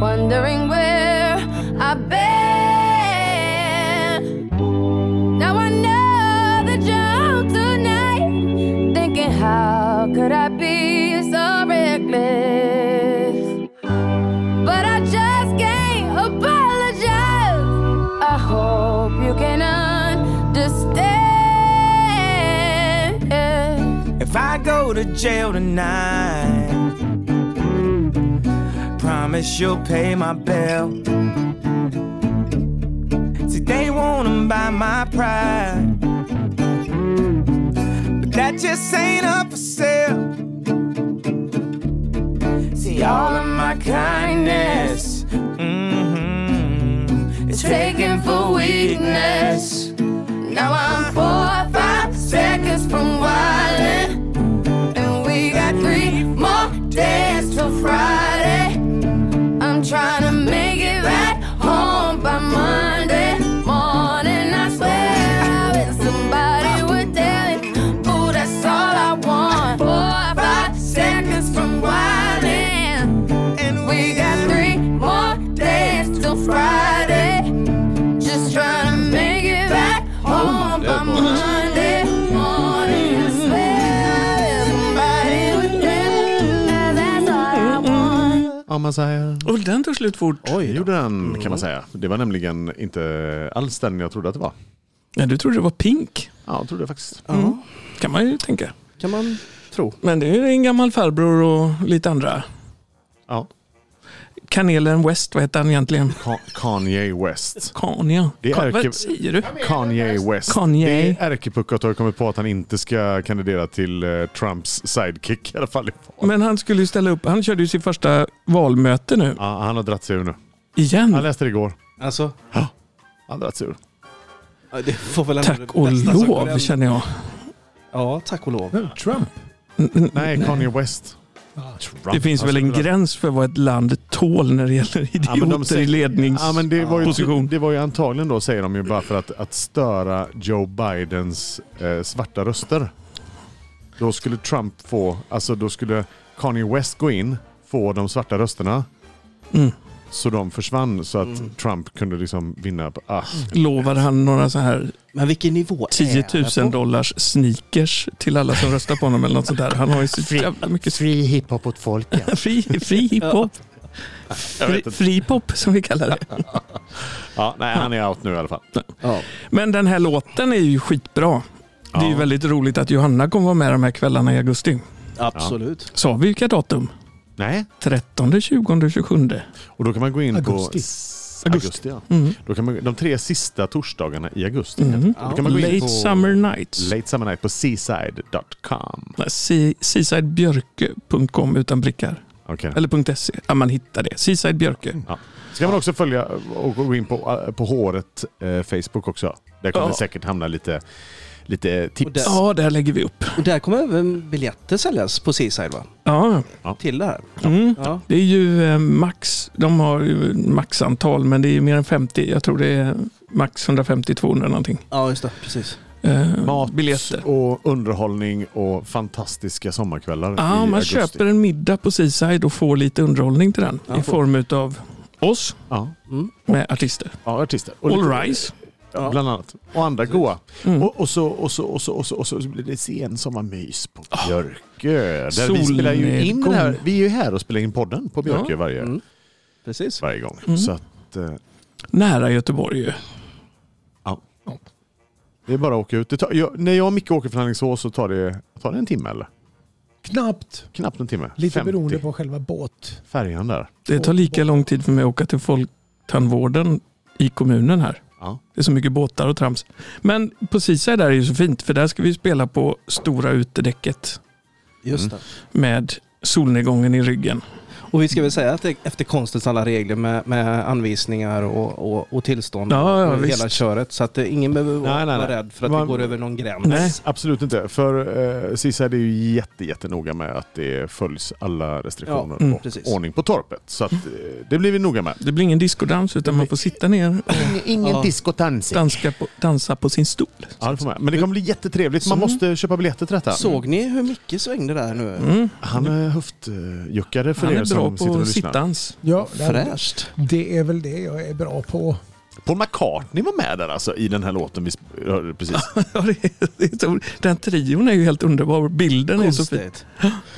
[SPEAKER 5] wondering where I've been. Now I know that you're out tonight, thinking how could I be so reckless? But I just can't apologize. I hope you can understand.
[SPEAKER 6] If I go to jail tonight, promise you'll pay my bail. See, they wanna buy my pride, but that just ain't up for sale. See, all of my kindness, mm-hmm, is
[SPEAKER 5] taken for weakness. Now I'm four or five seconds from wildin', and we got three more days till Friday. I'm trying to make it back home by Monday morning. I swear I wish somebody would tell me, ooh, that's all I want. Four or five seconds from wildin',
[SPEAKER 6] And
[SPEAKER 5] we got three more days till Friday. Just trying to make it back home by Monday morning. I swear somebody would care. That's all I want.
[SPEAKER 1] Amaziah.
[SPEAKER 3] Och den tog slut fort.
[SPEAKER 1] Oj, det gjorde den kan man säga. Det var nämligen inte alls den jag trodde att det var.
[SPEAKER 3] Nej, du trodde det var Pink.
[SPEAKER 1] Ja, jag trodde det faktiskt.
[SPEAKER 3] Mm. Kan man ju tänka.
[SPEAKER 2] kan man tro.
[SPEAKER 3] Men det är en gammal farbror och lite andra.
[SPEAKER 1] Ja.
[SPEAKER 3] Kanelen West, vad heter han egentligen?
[SPEAKER 1] Ka- Kanye West.
[SPEAKER 3] Kanye.
[SPEAKER 1] Det är
[SPEAKER 3] Ka-
[SPEAKER 1] arkiv-
[SPEAKER 3] vad säger du?
[SPEAKER 1] Kanye West.
[SPEAKER 3] Kanye.
[SPEAKER 1] Det är ärkepuckat har kommit på att han inte ska kandidera till eh, Trumps sidekick i alla fall. i val.
[SPEAKER 3] Men han skulle ju ställa upp. Han körde ju sitt första valmöte nu.
[SPEAKER 1] Ja, han har dratt sig ur nu. Jag
[SPEAKER 3] Igen.
[SPEAKER 1] läste det igår.
[SPEAKER 2] Alltså,
[SPEAKER 1] Han har dratt sig ur.
[SPEAKER 2] ja, det får väl ändå
[SPEAKER 3] Tack
[SPEAKER 2] det
[SPEAKER 3] och
[SPEAKER 2] bästa som kunde
[SPEAKER 3] lov
[SPEAKER 2] hända.
[SPEAKER 3] känner jag.
[SPEAKER 2] Ja, tack och lov.
[SPEAKER 4] Men Trump.
[SPEAKER 3] N- n-
[SPEAKER 1] Nej, Kanye West.
[SPEAKER 4] Ja.
[SPEAKER 1] Trump.
[SPEAKER 3] Det finns väl en
[SPEAKER 1] Alltså,
[SPEAKER 3] gräns för vad ett land tål när det gäller
[SPEAKER 1] Ja, men de
[SPEAKER 3] idioter i
[SPEAKER 1] säger- Ja, men det, var ju,
[SPEAKER 3] ledningsposition.
[SPEAKER 1] det var ju antagligen då, säger de ju, bara för att, att störa Joe Bidens eh, svarta röster. Då skulle Trump få, alltså då skulle Kanye West gå in, få de svarta rösterna.
[SPEAKER 3] Mm.
[SPEAKER 1] Så de försvann så att Trump kunde liksom vinna. På, ah.
[SPEAKER 3] Mm. Lovar han några så här
[SPEAKER 2] Men vilken nivå
[SPEAKER 3] 10
[SPEAKER 2] är
[SPEAKER 3] 000
[SPEAKER 2] det på?
[SPEAKER 3] dollars sneakers till alla som röstar på honom eller något sånt där. Han har ju så
[SPEAKER 1] Fri-
[SPEAKER 3] jävla mycket
[SPEAKER 1] Fri hiphop åt folket.
[SPEAKER 3] fri, fri hiphop. Fri, fri pop som vi kallar det.
[SPEAKER 1] ja, nej, han är out nu i alla fall.
[SPEAKER 2] Ja.
[SPEAKER 3] Men den här låten är ju skitbra. Det är ju
[SPEAKER 1] Ja.
[SPEAKER 3] väldigt roligt att Johanna kommer vara med de här kvällarna i augusti.
[SPEAKER 2] Absolut.
[SPEAKER 3] Sa vi vilka datum?
[SPEAKER 1] Nej,
[SPEAKER 3] 13, 20, 27.
[SPEAKER 1] och då kan man gå in på...
[SPEAKER 4] Augusti.
[SPEAKER 1] s- Augusti. ja.
[SPEAKER 3] Mm.
[SPEAKER 1] Då kan man, de tre sista torsdagarna i augusti.
[SPEAKER 3] Mm.
[SPEAKER 1] Då kan man gå in
[SPEAKER 3] Late
[SPEAKER 1] på-
[SPEAKER 3] Summer Nights.
[SPEAKER 1] Late Summer Night på seaside.com.
[SPEAKER 3] Nej, se- Seasidebjörke.com utan prickar.
[SPEAKER 1] Okej.
[SPEAKER 3] Eller .se. Ja, man hittar det. Seaside
[SPEAKER 1] Mm.
[SPEAKER 3] Björke.
[SPEAKER 1] Ska man också följa och gå in på, på håret eh, Facebook också. Där kommer
[SPEAKER 3] Ja.
[SPEAKER 1] det säkert hamna lite, lite
[SPEAKER 2] Och
[SPEAKER 1] tips.
[SPEAKER 2] där-
[SPEAKER 3] Ja, där lägger vi upp.
[SPEAKER 2] Och där kommer även biljetter säljas på Seaside va?
[SPEAKER 3] Ja.
[SPEAKER 2] Till det här.
[SPEAKER 3] Mm.
[SPEAKER 2] Ja.
[SPEAKER 3] Det är ju eh, max, de har ju maxantal, men det är ju mer än 50. Jag tror det är max 150-200 någonting.
[SPEAKER 2] ja, just det. Precis.
[SPEAKER 3] Eh,
[SPEAKER 1] Mat
[SPEAKER 3] biljetter.
[SPEAKER 1] och underhållning och fantastiska sommarkvällar
[SPEAKER 3] Ja,
[SPEAKER 1] i
[SPEAKER 3] man
[SPEAKER 1] augusti.
[SPEAKER 3] köper en middag på Seaside och får lite underhållning till den.
[SPEAKER 2] Ja.
[SPEAKER 3] I form av oss
[SPEAKER 1] Ja,
[SPEAKER 2] Mm.
[SPEAKER 3] med artister.
[SPEAKER 1] ja artister. Och
[SPEAKER 3] All
[SPEAKER 1] lite-
[SPEAKER 3] Rise.
[SPEAKER 2] Ja.
[SPEAKER 1] bland annat. Och andra goa.
[SPEAKER 3] Mm.
[SPEAKER 1] Och, och, så, och, så, och, så, och, så, och så blir det sen sommarmys på Björkö. Där vi, spelar ju in den här,
[SPEAKER 3] Solnedgång.
[SPEAKER 1] vi är ju här och spelar in podden på Björkö
[SPEAKER 3] Ja.
[SPEAKER 1] varje,
[SPEAKER 2] Mm. Precis.
[SPEAKER 1] varje gång.
[SPEAKER 3] Mm.
[SPEAKER 1] Så att, eh,
[SPEAKER 3] Nära Göteborg ju.
[SPEAKER 1] det är bara att åka ut. Det tar, jag, när jag och Micke åker från Alingsås så tar det, tar det en timme eller?
[SPEAKER 4] Knappt.
[SPEAKER 1] Knappt en timme.
[SPEAKER 4] Lite beroende på själva båt.
[SPEAKER 1] färjan där.
[SPEAKER 3] Det tar lika lång tid för mig att åka till folktandvården i kommunen här.
[SPEAKER 1] Ja.
[SPEAKER 3] Det är så mycket båtar och trams. Men på Sisa där är ju så fint för där ska vi spela på stora utedäcket
[SPEAKER 2] Just
[SPEAKER 1] Mm.
[SPEAKER 2] det.
[SPEAKER 3] med solnedgången i ryggen.
[SPEAKER 2] Och vi ska väl säga att det- efter konstens alla regler med, med anvisningar och, och, och tillstånd
[SPEAKER 3] Ja, ja,
[SPEAKER 2] och hela
[SPEAKER 3] visst.
[SPEAKER 2] köret. Så att eh, ingen behöver vara,
[SPEAKER 1] Nej, nej,
[SPEAKER 2] vara
[SPEAKER 1] nej.
[SPEAKER 2] rädd för att
[SPEAKER 1] Man-
[SPEAKER 2] vi går över någon gräns.
[SPEAKER 3] Nej.
[SPEAKER 1] Absolut inte, för eh, Sisa är ju jätte, jättenoga med att det följs alla restriktioner
[SPEAKER 3] Ja, mm,
[SPEAKER 1] och
[SPEAKER 2] precis.
[SPEAKER 1] ordning på torpet. Så att, eh, det blir vi noga med.
[SPEAKER 3] Det blir ingen diskodans utan man får sitta ner och
[SPEAKER 1] Ingen
[SPEAKER 2] Ja.
[SPEAKER 1] diskotans.
[SPEAKER 3] danska på, dansa på sin stol.
[SPEAKER 1] Ja, det får man. Men det kommer bli jättetrevligt. Man
[SPEAKER 3] Så-
[SPEAKER 1] måste köpa biljetter till detta.
[SPEAKER 2] Såg ni hur mycket svängde där nu?
[SPEAKER 3] Mm.
[SPEAKER 1] Han är höftjuckare för
[SPEAKER 3] Han
[SPEAKER 1] er
[SPEAKER 3] är
[SPEAKER 1] som
[SPEAKER 3] bra
[SPEAKER 1] sitter
[SPEAKER 3] på
[SPEAKER 1] och lyssnar.
[SPEAKER 3] sittdans. [laughs]
[SPEAKER 4] Ja, det,
[SPEAKER 2] Fräscht.
[SPEAKER 4] det är väl det jag är bra på.
[SPEAKER 1] Paul McCartney var med där alltså i den här låten vi sp- hörde precis.
[SPEAKER 2] Ah.
[SPEAKER 3] Ja, det är, det är så, den trion är ju helt underbar. Bilden är så fin.
[SPEAKER 2] Konstigt.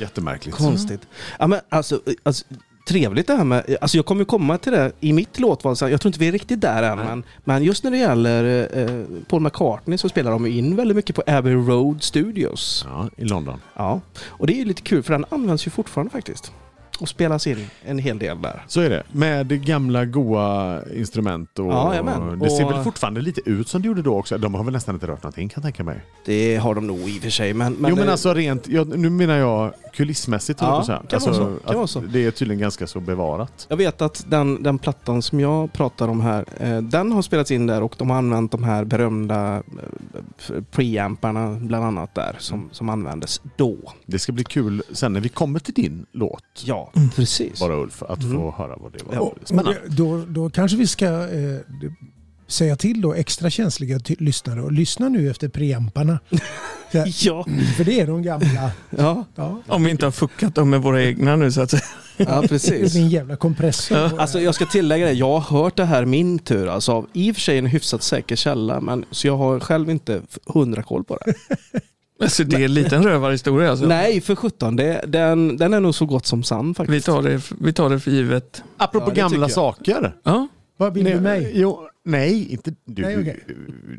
[SPEAKER 1] Jättemärkligt.
[SPEAKER 2] Konstigt. Ja, men alltså, alltså, trevligt det här med... Alltså, jag kommer ju komma till det i mitt låtval. sen. Jag tror inte vi är riktigt där än. Men, men just när det gäller eh, Paul McCartney så spelar de ju in väldigt mycket på Abbey Road Studios.
[SPEAKER 1] Ja, i London.
[SPEAKER 2] Ja. Och det är ju lite kul för den används ju fortfarande faktiskt. Och spelas in en hel del där.
[SPEAKER 1] Så är det. Med gamla goa instrument och...
[SPEAKER 2] Ja, jajamän.
[SPEAKER 1] det ser
[SPEAKER 2] Och-
[SPEAKER 1] väl fortfarande lite ut som det gjorde då också. De har väl nästan inte rört någonting kan jag tänka mig.
[SPEAKER 2] Det har de nog i och för sig. Men, men,
[SPEAKER 1] jo men
[SPEAKER 2] eh,
[SPEAKER 1] alltså rent, ja, nu menar jag kulissmässigt. höll jag
[SPEAKER 2] Ja,
[SPEAKER 1] på att säga.
[SPEAKER 2] kan
[SPEAKER 1] alltså,
[SPEAKER 2] vara så, kan
[SPEAKER 1] att
[SPEAKER 2] vara så.
[SPEAKER 1] Det är tydligen ganska så bevarat.
[SPEAKER 2] Jag vet att den, den plattan som jag pratar om här, eh, den har spelats in där och de har använt de här berömda eh, f- preamparna bland annat där som, som användes då.
[SPEAKER 1] Det ska bli kul sen när vi kommer till din låt,
[SPEAKER 2] Ja, precis.
[SPEAKER 1] bara Ulf, att få
[SPEAKER 2] Mm.
[SPEAKER 1] höra vad det var.
[SPEAKER 2] Ja.
[SPEAKER 4] Och- och
[SPEAKER 1] Spännande.
[SPEAKER 4] det- Då, då kanske vi ska eh, d- säga till då extra känsliga ty- lyssnare och lyssna nu efter preamparna.
[SPEAKER 2] Ja,
[SPEAKER 4] För det är
[SPEAKER 3] [laughs]
[SPEAKER 4] de gamla.
[SPEAKER 2] ja,
[SPEAKER 4] Ja,
[SPEAKER 3] Om vi inte har fuckat dem med våra egna nu så att säga. [laughs]
[SPEAKER 2] ja
[SPEAKER 4] det är
[SPEAKER 2] precis.
[SPEAKER 4] min jävla kompressor. på det här.
[SPEAKER 2] Alltså jag ska tillägga det, jag har hört det här min tur. Alltså av i och för sig en hyfsat säker källa, men så jag har själv inte f- hundra koll på det.
[SPEAKER 3] Alltså, det är en liten rövarhistoria. Alltså.
[SPEAKER 2] Nej, för sjutton, det, den, den är nog så gott som sann
[SPEAKER 3] Vi,
[SPEAKER 2] faktiskt.
[SPEAKER 3] tar det, vi tar det för givet.
[SPEAKER 1] Apropå
[SPEAKER 2] Ja, det tycker
[SPEAKER 1] gamla
[SPEAKER 2] jag.
[SPEAKER 1] saker.
[SPEAKER 3] Ja.
[SPEAKER 4] Vad vill
[SPEAKER 1] nej,
[SPEAKER 4] du mig?
[SPEAKER 1] Jo, nej, inte du.
[SPEAKER 4] Nej, okej.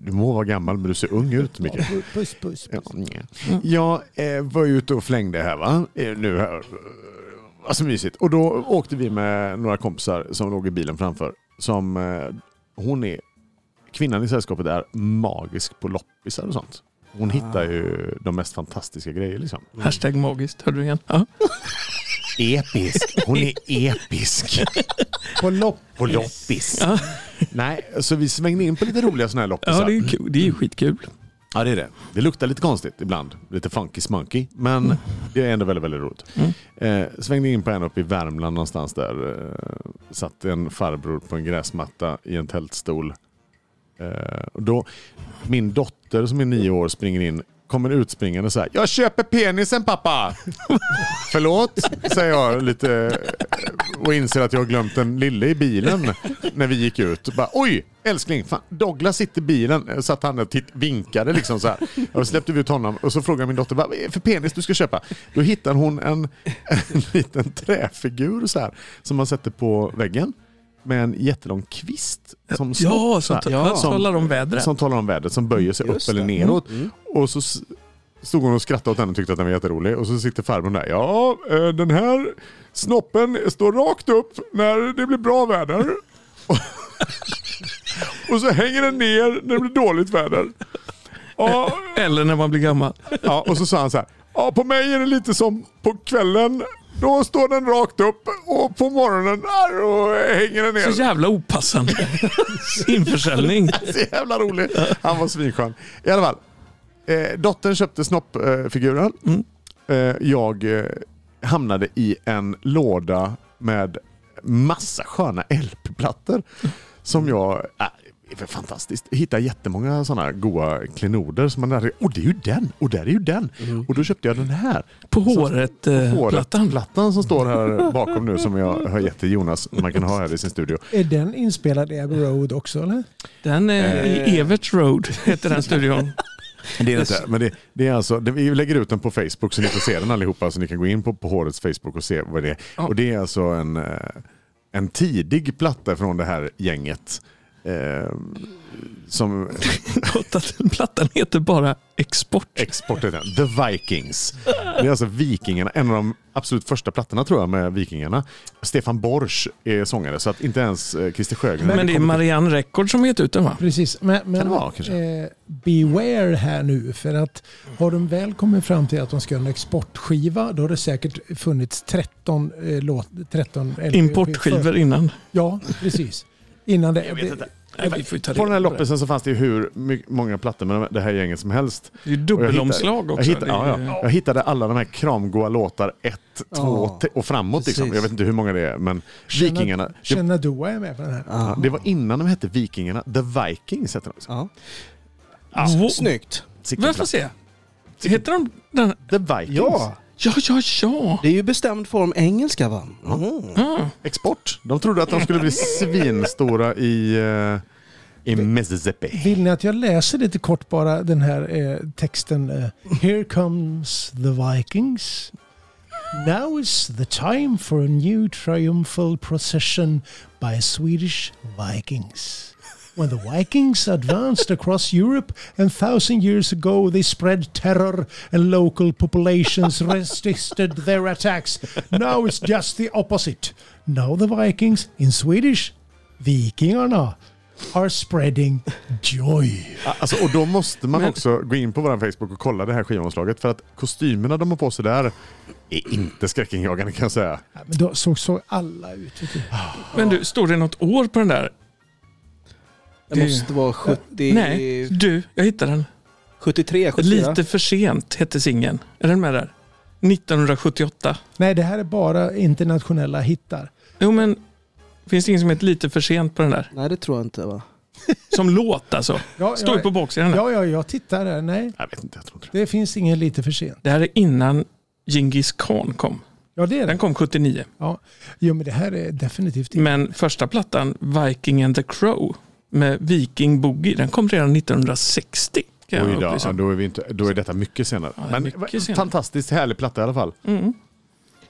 [SPEAKER 1] Du må vara gammal men du ser ung ut
[SPEAKER 4] Ja, Mm.
[SPEAKER 1] mycket.
[SPEAKER 4] pu- Puss, puss,
[SPEAKER 1] Ja,
[SPEAKER 4] puss.
[SPEAKER 1] nej. jag eh, var ute och flängde här va? Eh, nu här. Eh, Alltså mysigt. Och då åkte vi med några kompisar som låg i bilen framför. Som, eh, hon är, kvinnan i sällskapet är magisk på loppisar och sånt. Hon hittar ju
[SPEAKER 4] Ah.
[SPEAKER 1] de mest fantastiska grejer liksom.
[SPEAKER 4] [laughs]
[SPEAKER 3] Hashtag magiskt, hörde du igen? Ja.
[SPEAKER 1] Episk. Hon är episk.
[SPEAKER 4] På lopp.
[SPEAKER 1] På
[SPEAKER 4] [laughs]
[SPEAKER 1] loppis.
[SPEAKER 3] Ja.
[SPEAKER 1] Nej, så vi svängde in på lite roliga sådana här loppisar.
[SPEAKER 3] Ja, det är ju kul. Det är ju skitkul.
[SPEAKER 1] Ja, det är det. Det luktar lite konstigt ibland. Lite funky smunky. Men det är ändå väldigt, väldigt roligt. Eh, svängde in på en uppe i Värmland någonstans där. Eh, satt en farbror på en gräsmatta i en tältstol. Eh, och då, min dotter som är nio år springer in, kommer utspringande och säger Jag köper penisen pappa! [laughs] Förlåt, säger jag lite eh, och inser att jag har glömt den lille i bilen när vi gick ut. Bara, Oj, älskling, fan, Douglas sitter i bilen. Eh, Satt han och titt, vinkade liksom så här. Och så släppte vi ut honom och så frågade min dotter, "Vad är det för penis du ska köpa? Då hittar hon en, en [laughs] liten träfigur så här, som man sätter på väggen. Med en jättelång kvist som
[SPEAKER 3] Ja,
[SPEAKER 1] så
[SPEAKER 3] som,
[SPEAKER 1] här,
[SPEAKER 3] ta- ja. som talar om vädret.
[SPEAKER 1] som talar om vädret som böjer sig
[SPEAKER 2] Just
[SPEAKER 1] upp eller
[SPEAKER 2] det.
[SPEAKER 1] neråt. Och så s- stod hon och skrattade åt henne och tyckte att den var jätterolig. Och så sitter farbrorn där. Ja, eh, den här snoppen står rakt upp när det blir bra väder. [laughs] Och- och så hänger den ner när det blir dåligt väder. Ja,
[SPEAKER 3] Eller när man blir gammal.
[SPEAKER 1] ja, och så sa han så här. Ja, på mig är det lite som på kvällen. Då står den rakt upp och på morgonen där och hänger den ner.
[SPEAKER 3] Så jävla opassande. [laughs] Införsäljning.
[SPEAKER 1] [laughs] Så jävla rolig. Han var svinskön. I alla fall. Eh, dottern köpte snoppfiguren. Eh, jag eh, hamnade i en låda med massa sköna LP-plattor. Som jag... Äh, är väl fantastiskt. Hitta jättemånga sådana goa klenoder som man lärde Och det är ju den! Och där är ju den! Och då köpte jag den här.
[SPEAKER 3] På håret, eh, plattan.
[SPEAKER 1] Plattan som står här bakom nu som jag har gett till Jonas. som Man kan ha här i sin studio.
[SPEAKER 4] Är den inspelad i Abbey Road också eller?
[SPEAKER 3] Den är i Evert Road, heter den studion. [laughs]
[SPEAKER 1] Men Det är det inte, men det, det är alltså, det, vi lägger ut den på Facebook så ni får se den allihopa. Så ni kan gå in på, på Hårets Facebook och se vad det är.
[SPEAKER 3] Ja.
[SPEAKER 1] Och det är alltså en, eh, en tidig platta från det här gänget. Eh, som
[SPEAKER 3] Gott att den plattan heter bara Export.
[SPEAKER 1] export heter den. The Vikings. Det är alltså Vikingarna, en av de absolut första plattorna tror jag med Vikingarna. Stefan Borsch är sångare så att inte ens eh, Christer Sjögren.
[SPEAKER 3] Men det är Marianne Record som gett ut den va?
[SPEAKER 4] Precis. Men, men
[SPEAKER 1] Kan det vara, kanske?
[SPEAKER 4] Eh, beware här nu för att har de väl kommit fram till att de ska göra en exportskiva då har det säkert funnits 13 eh, låt, 13 LP
[SPEAKER 3] Importskivor
[SPEAKER 4] för-
[SPEAKER 3] innan.
[SPEAKER 4] Ja, precis. Innan det.
[SPEAKER 1] Jag vet inte.
[SPEAKER 3] Nej, vi får ju ta
[SPEAKER 1] På den här
[SPEAKER 3] reda på det.
[SPEAKER 1] loppisen så fanns det ju hur my- många plattor med det här gänget som helst.
[SPEAKER 3] Det är ju dubbelomslag
[SPEAKER 1] Jag
[SPEAKER 3] också.
[SPEAKER 1] hittade,
[SPEAKER 3] Det är
[SPEAKER 1] ja,
[SPEAKER 3] ju-
[SPEAKER 1] ja. jag hittade alla de här kramgoa låtar 1, 2
[SPEAKER 2] Ja,
[SPEAKER 1] och framåt. Liksom.
[SPEAKER 2] precis.
[SPEAKER 1] Jag vet inte hur många det är, men Vikingarna. Det,
[SPEAKER 4] Känna Doa är med på den här.
[SPEAKER 1] ja, det var innan de hette Vikingarna. The Vikings hette de. också.
[SPEAKER 2] Ja.
[SPEAKER 3] Wow.
[SPEAKER 2] Snyggt.
[SPEAKER 1] Sicken
[SPEAKER 3] Vi får
[SPEAKER 1] platta.
[SPEAKER 3] se. Heter de den?
[SPEAKER 1] The Vikings.
[SPEAKER 2] Ja,
[SPEAKER 3] Ja, ja, ja.
[SPEAKER 2] det är ju bestämd form engelska va? Mm.
[SPEAKER 3] Ah,
[SPEAKER 1] Export. De trodde att de skulle bli svinstora i, eh, i Mississippi.
[SPEAKER 4] Vill ni att jag läser lite kort bara den här eh, texten? Eh, Here comes the Vikings. Now is the time for a new triumphal procession by Swedish Vikings. When the Vikings advanced across Europe and thousand years ago they spread terror and local populations resisted their attacks. Now it's just the opposite. Now the Vikings, in Swedish, Vikingarna, are spreading joy.
[SPEAKER 1] Alltså, och då måste man
[SPEAKER 3] Men-
[SPEAKER 1] också gå in på vår Facebook och kolla det här skivomslaget. För att kostymerna de har på sig där är inte skräckinjagande kan jag säga.
[SPEAKER 4] Ja, Men då såg, såg alla ut. vet du.
[SPEAKER 3] Men du, står det något år på den där?
[SPEAKER 2] Det måste vara 70...
[SPEAKER 3] Nej, du, jag hittade den.
[SPEAKER 2] 73, 74.
[SPEAKER 3] Lite för sent hette singeln. Är den med där? 1978.
[SPEAKER 4] Nej, det här är bara internationella hittar.
[SPEAKER 3] Jo, men finns det ingen som heter lite för sent på den där?
[SPEAKER 2] Nej, det tror jag inte va?
[SPEAKER 1] [laughs]
[SPEAKER 3] Som låt alltså.
[SPEAKER 4] Ja,
[SPEAKER 3] Står ju på
[SPEAKER 4] ja,
[SPEAKER 3] baksidan där.
[SPEAKER 4] ja, ja, jag tittar här. Nej,
[SPEAKER 1] Jag vet inte, jag tror inte det.
[SPEAKER 4] det finns ingen lite för sent.
[SPEAKER 3] Det här är innan Genghis Khan kom.
[SPEAKER 4] Ja, det är
[SPEAKER 3] Den
[SPEAKER 4] det.
[SPEAKER 3] kom 79.
[SPEAKER 4] Jo, men det här är definitivt inte.
[SPEAKER 3] Men första plattan, Viking and the Crow, med Viking Boogie, den kom redan 1960. Kan jag
[SPEAKER 1] Oj då,
[SPEAKER 3] upplysa
[SPEAKER 1] ja,
[SPEAKER 3] om.
[SPEAKER 1] då, är vi inte, då är detta mycket senare.
[SPEAKER 3] Ja, det är
[SPEAKER 1] Men
[SPEAKER 3] mycket
[SPEAKER 1] va-
[SPEAKER 3] senare.
[SPEAKER 1] fantastiskt härlig platta i alla fall.
[SPEAKER 3] Mm.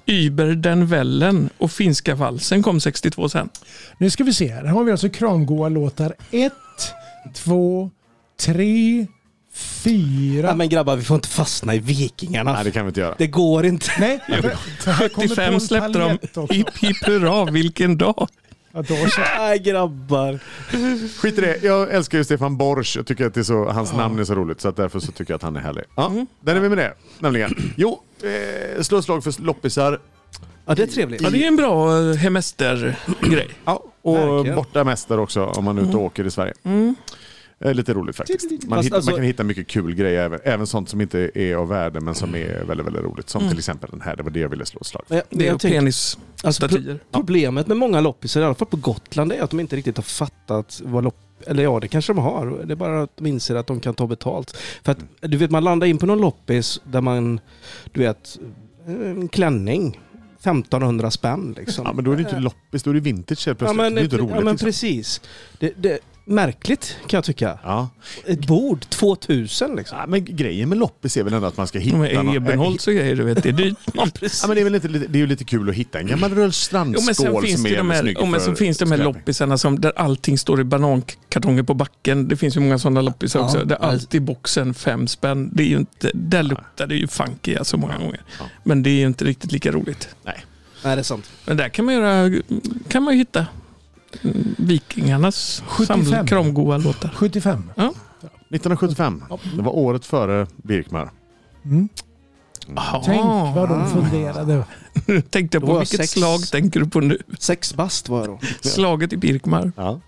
[SPEAKER 3] Über den Wellen och Finska valsen kom 62 sen.
[SPEAKER 4] Nu ska vi se här. Här har vi alltså kramgoa låtar 1, 2, 3,
[SPEAKER 2] Nej
[SPEAKER 4] 4.
[SPEAKER 2] men grabbar, vi får inte fastna i vikingarna.
[SPEAKER 1] Nej, det kan vi inte göra.
[SPEAKER 2] Det går inte. [laughs]
[SPEAKER 4] Nej, för- för här kommer
[SPEAKER 3] 75
[SPEAKER 4] Tom
[SPEAKER 3] släppte de
[SPEAKER 4] Paljett också.
[SPEAKER 3] Hipp hipp hurra,
[SPEAKER 1] [laughs]
[SPEAKER 3] vilken dag!
[SPEAKER 4] Ja, då så.
[SPEAKER 2] Nej grabbar.
[SPEAKER 1] Skit i det. Jag älskar ju Stefan Borsch. Jag tycker att det är så, hans namn är så roligt så att därför så tycker jag att han är härlig. Ja, Där är vi med det. Nämligen. Jo, eh, slå ett slag för loppisar.
[SPEAKER 2] Ja, det är trevligt.
[SPEAKER 3] Ja, det är en bra eh, hemester-grej.
[SPEAKER 1] Ja, och
[SPEAKER 2] Verkligen.
[SPEAKER 1] bortamästare också om man är ute och åker i Sverige. Eh, lite roligt faktiskt. Man,
[SPEAKER 2] Fast
[SPEAKER 1] hittar,
[SPEAKER 2] alltså-
[SPEAKER 1] man kan hitta mycket kul grejer, även, även sånt som inte är av värde men som är väldigt, väldigt roligt. Som till exempel den här, det var det jag ville slå ett slag för.
[SPEAKER 2] Men jag-
[SPEAKER 3] Det är
[SPEAKER 2] jag tänker-
[SPEAKER 3] penisstatyer.
[SPEAKER 2] alltså, pro- Problemet med många loppisar, i alla fall på Gotland, är att de inte riktigt har fattat vad lopp... Eller ja, det kanske de har. Det är bara att de inser att de kan ta betalt. För att du vet, man landar in på någon loppis där man, du vet, eh, en klänning. 1500 spänn liksom.
[SPEAKER 1] Ja, men då är det inte loppis, då är det vintage helt
[SPEAKER 2] Ja,
[SPEAKER 1] plötsligt.
[SPEAKER 2] men,
[SPEAKER 1] det är inte roligt.
[SPEAKER 2] ja, men
[SPEAKER 1] liksom.
[SPEAKER 2] precis. Det, det, märkligt kan jag tycka.
[SPEAKER 1] Ja.
[SPEAKER 2] Ett bord, 2000 liksom.
[SPEAKER 1] Ja, men grejen med loppis är väl ändå att man ska hitta... någon-
[SPEAKER 3] Ebenholts och grejer, du vet, det är dyrt.
[SPEAKER 1] Ja, men det, är väl lite, det är ju lite kul att hitta en gammal
[SPEAKER 3] Jo, men sen
[SPEAKER 1] rullstrandskål
[SPEAKER 3] finns
[SPEAKER 1] som
[SPEAKER 3] det
[SPEAKER 1] är
[SPEAKER 3] ju de här,
[SPEAKER 1] snygg
[SPEAKER 3] jo, men
[SPEAKER 1] för
[SPEAKER 3] så finns det de här
[SPEAKER 1] skräpning.
[SPEAKER 3] loppisarna som, där allting står i banankartonger på backen. Det finns ju många sådana loppisar
[SPEAKER 2] Ja,
[SPEAKER 3] också. Där
[SPEAKER 2] alltså-
[SPEAKER 3] allt i boxen, fem spänn. Det är ju inte, där luktar det ju funky alltså många gånger.
[SPEAKER 1] Ja.
[SPEAKER 3] Men det är ju inte riktigt lika roligt.
[SPEAKER 1] Nej.
[SPEAKER 2] Nej, det är sant.
[SPEAKER 3] Men där kan man, göra, kan man ju hitta mm, vikingarnas
[SPEAKER 4] 75.
[SPEAKER 3] samlade kramgoa låtar.
[SPEAKER 4] 75.
[SPEAKER 1] 1975, det var året före Birkmar.
[SPEAKER 4] Mm. Tänk [laughs] vad de
[SPEAKER 2] Ah.
[SPEAKER 4] funderade.
[SPEAKER 3] Nu tänkte jag
[SPEAKER 2] Då
[SPEAKER 3] på
[SPEAKER 2] var
[SPEAKER 3] vilket
[SPEAKER 2] sex.
[SPEAKER 3] slag tänker du på nu?
[SPEAKER 2] Sex bast var
[SPEAKER 1] [laughs]
[SPEAKER 2] jag då.
[SPEAKER 3] Slaget i Birkmar.
[SPEAKER 1] Ja.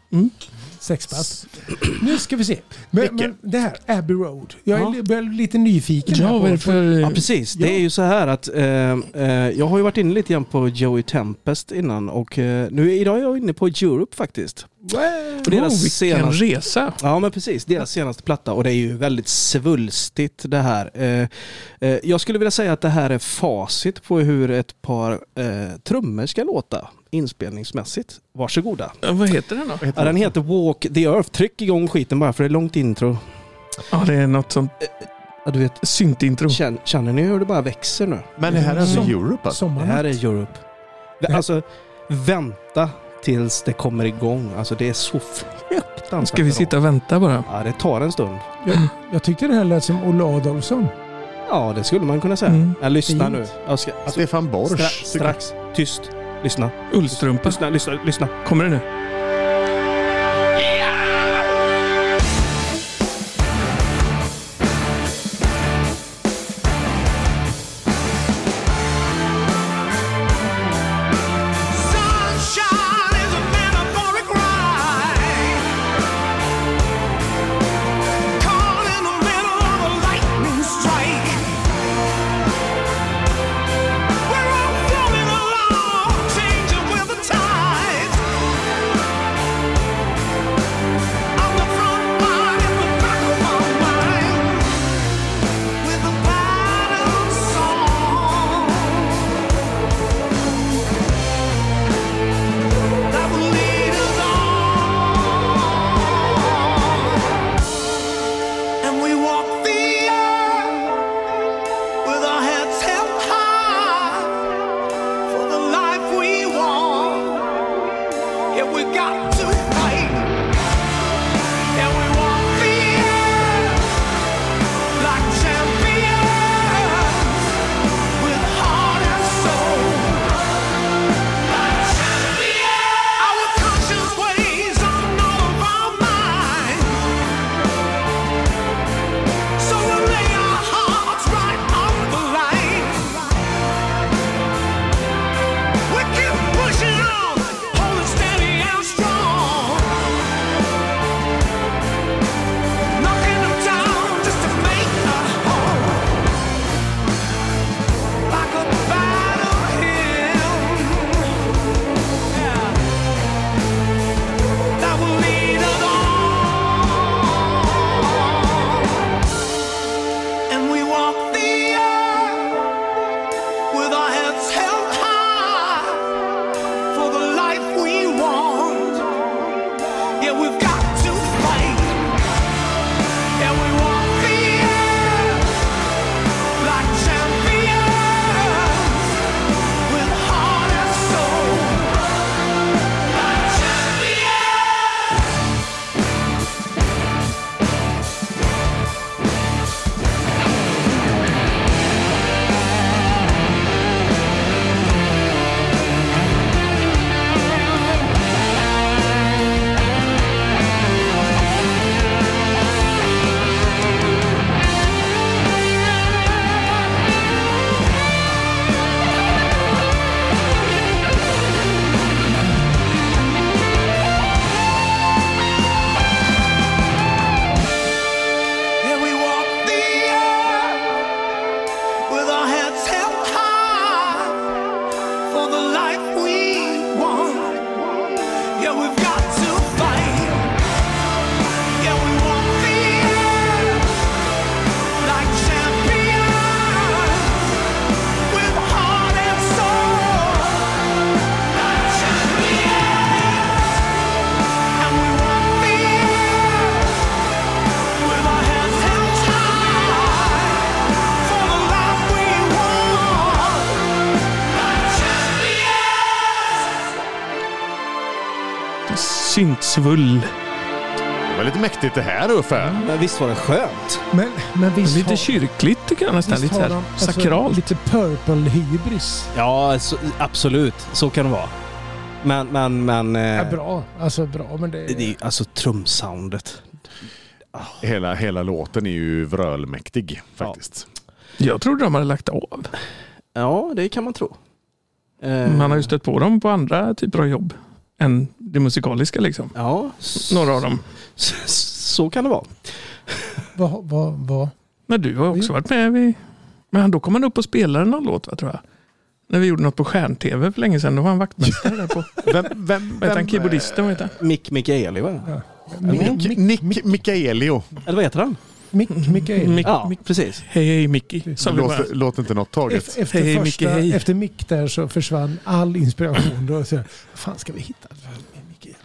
[SPEAKER 4] Sexpass. Nu ska vi se. Men,
[SPEAKER 1] Micke.
[SPEAKER 4] men det här, Abbey Road. Jag är
[SPEAKER 2] Ja.
[SPEAKER 4] li- börjar lite nyfiken. här
[SPEAKER 3] Ja,
[SPEAKER 4] på-
[SPEAKER 3] vad är det för...
[SPEAKER 2] Ja, precis.
[SPEAKER 4] Ja.
[SPEAKER 2] Det är ju så här att eh, eh, jag har ju varit inne lite grann på Joey Tempest innan och eh, nu idag är jag inne på Europe faktiskt. Och deras
[SPEAKER 3] oh, vilken
[SPEAKER 2] senaste-
[SPEAKER 3] resa.
[SPEAKER 2] Ja, men precis. Deras senaste platta och det är ju väldigt svulstigt det här. Eh, eh, Jag skulle vilja säga att det här är facit på hur ett par eh, trummor ska låta inspelningsmässigt. Varsågoda.
[SPEAKER 3] Ja, Vad heter den då?
[SPEAKER 1] Vad heter
[SPEAKER 2] Ja, den heter Walk the Earth. Tryck igång skiten bara för det är långt intro. Mm.
[SPEAKER 3] Ja, det är något sånt
[SPEAKER 2] Ja, du vet,
[SPEAKER 3] syntintro.
[SPEAKER 2] känn- känner ni hur det bara växer nu?
[SPEAKER 1] Men det här är alltså
[SPEAKER 4] Som-
[SPEAKER 1] Europe alltså?
[SPEAKER 2] Det
[SPEAKER 4] Sommarnatt.
[SPEAKER 2] här är Europe. Vä- Alltså, vänta tills det kommer igång. Alltså det är så fruktansvärt
[SPEAKER 3] Ska vi
[SPEAKER 2] bra.
[SPEAKER 3] sitta och vänta bara?
[SPEAKER 2] Ja, det tar en stund.
[SPEAKER 4] Jag tyckte det här lät som Olle Adolfsson.
[SPEAKER 2] Ja, det skulle man kunna säga.
[SPEAKER 3] Mm.
[SPEAKER 2] Ja, lyssna
[SPEAKER 4] Fint.
[SPEAKER 2] nu. Jag ska, alltså,
[SPEAKER 1] Stefan Borsch?
[SPEAKER 2] stra- strax. Tyst. Lyssna.
[SPEAKER 3] Ullstrumpa.
[SPEAKER 2] Lyssna, lyssna, lyssna.
[SPEAKER 3] Kommer det nu?
[SPEAKER 6] Sunshine is a metaphoric ride. Caught in the middle of a lightning strike. We're all floating along, changing with the tides. On the front line, in the back of our mind, with a battle song. That will lead us on, and we walk the earth with our heads held high for the life we want. Yeah, we got to fight. Yeah, we walk the earth like champions with heart and soul. Our conscious ways are not of our mind, so we lay our hearts right on the line. We keep pushing on, holding steady and strong, knocking them down just to make a home, like a battle hymn. That will lead us on, and we walk the earth with our heads held high for the life we want. Yeah, we've got to fight. Yeah, we walk the earth like champions with heart and soul. Like champions. Yeah, we walk the earth with our heads held high for the life we want. Yeah, we've got to fight. Yeah, we walk the earth like champions with heart and soul. Like champions, and we walk the earth. With our hands held high for the life we want, like champions.
[SPEAKER 3] Syntsvull.
[SPEAKER 1] Det var lite mäktigt det här Uffe.
[SPEAKER 3] Mm.
[SPEAKER 2] Men visst var det skönt?
[SPEAKER 4] Men, men visst
[SPEAKER 3] Lite
[SPEAKER 4] har-
[SPEAKER 3] kyrkligt tycker jag nästan.
[SPEAKER 4] visst
[SPEAKER 3] Lite
[SPEAKER 4] har
[SPEAKER 3] så här
[SPEAKER 4] de, alltså,
[SPEAKER 3] sakralt.
[SPEAKER 4] Lite purple hybris.
[SPEAKER 2] Ja, så, absolut. Så kan det vara. Men, men, men... eh,
[SPEAKER 3] Äh.
[SPEAKER 4] Ja, bra. Alltså bra, men det...
[SPEAKER 2] Det är ju alltså trumsoundet.
[SPEAKER 1] Hela, hela låten är ju vrölmäktig faktiskt.
[SPEAKER 3] Jag trodde de hade lagt av.
[SPEAKER 2] Ja, det kan man tro. Eh,
[SPEAKER 3] Man Mm, har ju stött på dem på andra typer av jobb än det musikaliska liksom.
[SPEAKER 2] Ja, s-
[SPEAKER 3] Några av dem.
[SPEAKER 2] Så, så kan det vara.
[SPEAKER 4] Vad, vad, vad?
[SPEAKER 3] Men du har också varit med vid... Men då kom han upp och spelade någon låt va, tror jag. När vi gjorde något på Stjärn-TV för länge sedan, då var han vaktmästare där på...
[SPEAKER 1] Vem, vem,
[SPEAKER 3] Vad heter han?
[SPEAKER 1] vem,
[SPEAKER 3] Keyboardisten, vad heter han?
[SPEAKER 2] Mick Mikaeli va?
[SPEAKER 1] Nick, Nick Mikaelio.
[SPEAKER 2] Eller vad heter han?
[SPEAKER 4] Mick, Mikael.
[SPEAKER 3] Mick,
[SPEAKER 2] Ja,
[SPEAKER 3] Mick,
[SPEAKER 2] precis.
[SPEAKER 3] hej, hej Mickey. Sa vi bara.
[SPEAKER 1] Låt, låt inte något taget.
[SPEAKER 4] E- Efter,
[SPEAKER 3] Hej, Micke,
[SPEAKER 4] första,
[SPEAKER 3] hej.
[SPEAKER 4] efter Mick där så försvann all inspiration. Då så, vad fan ska vi hitta?
[SPEAKER 3] [laughs]
[SPEAKER 4] Mikael.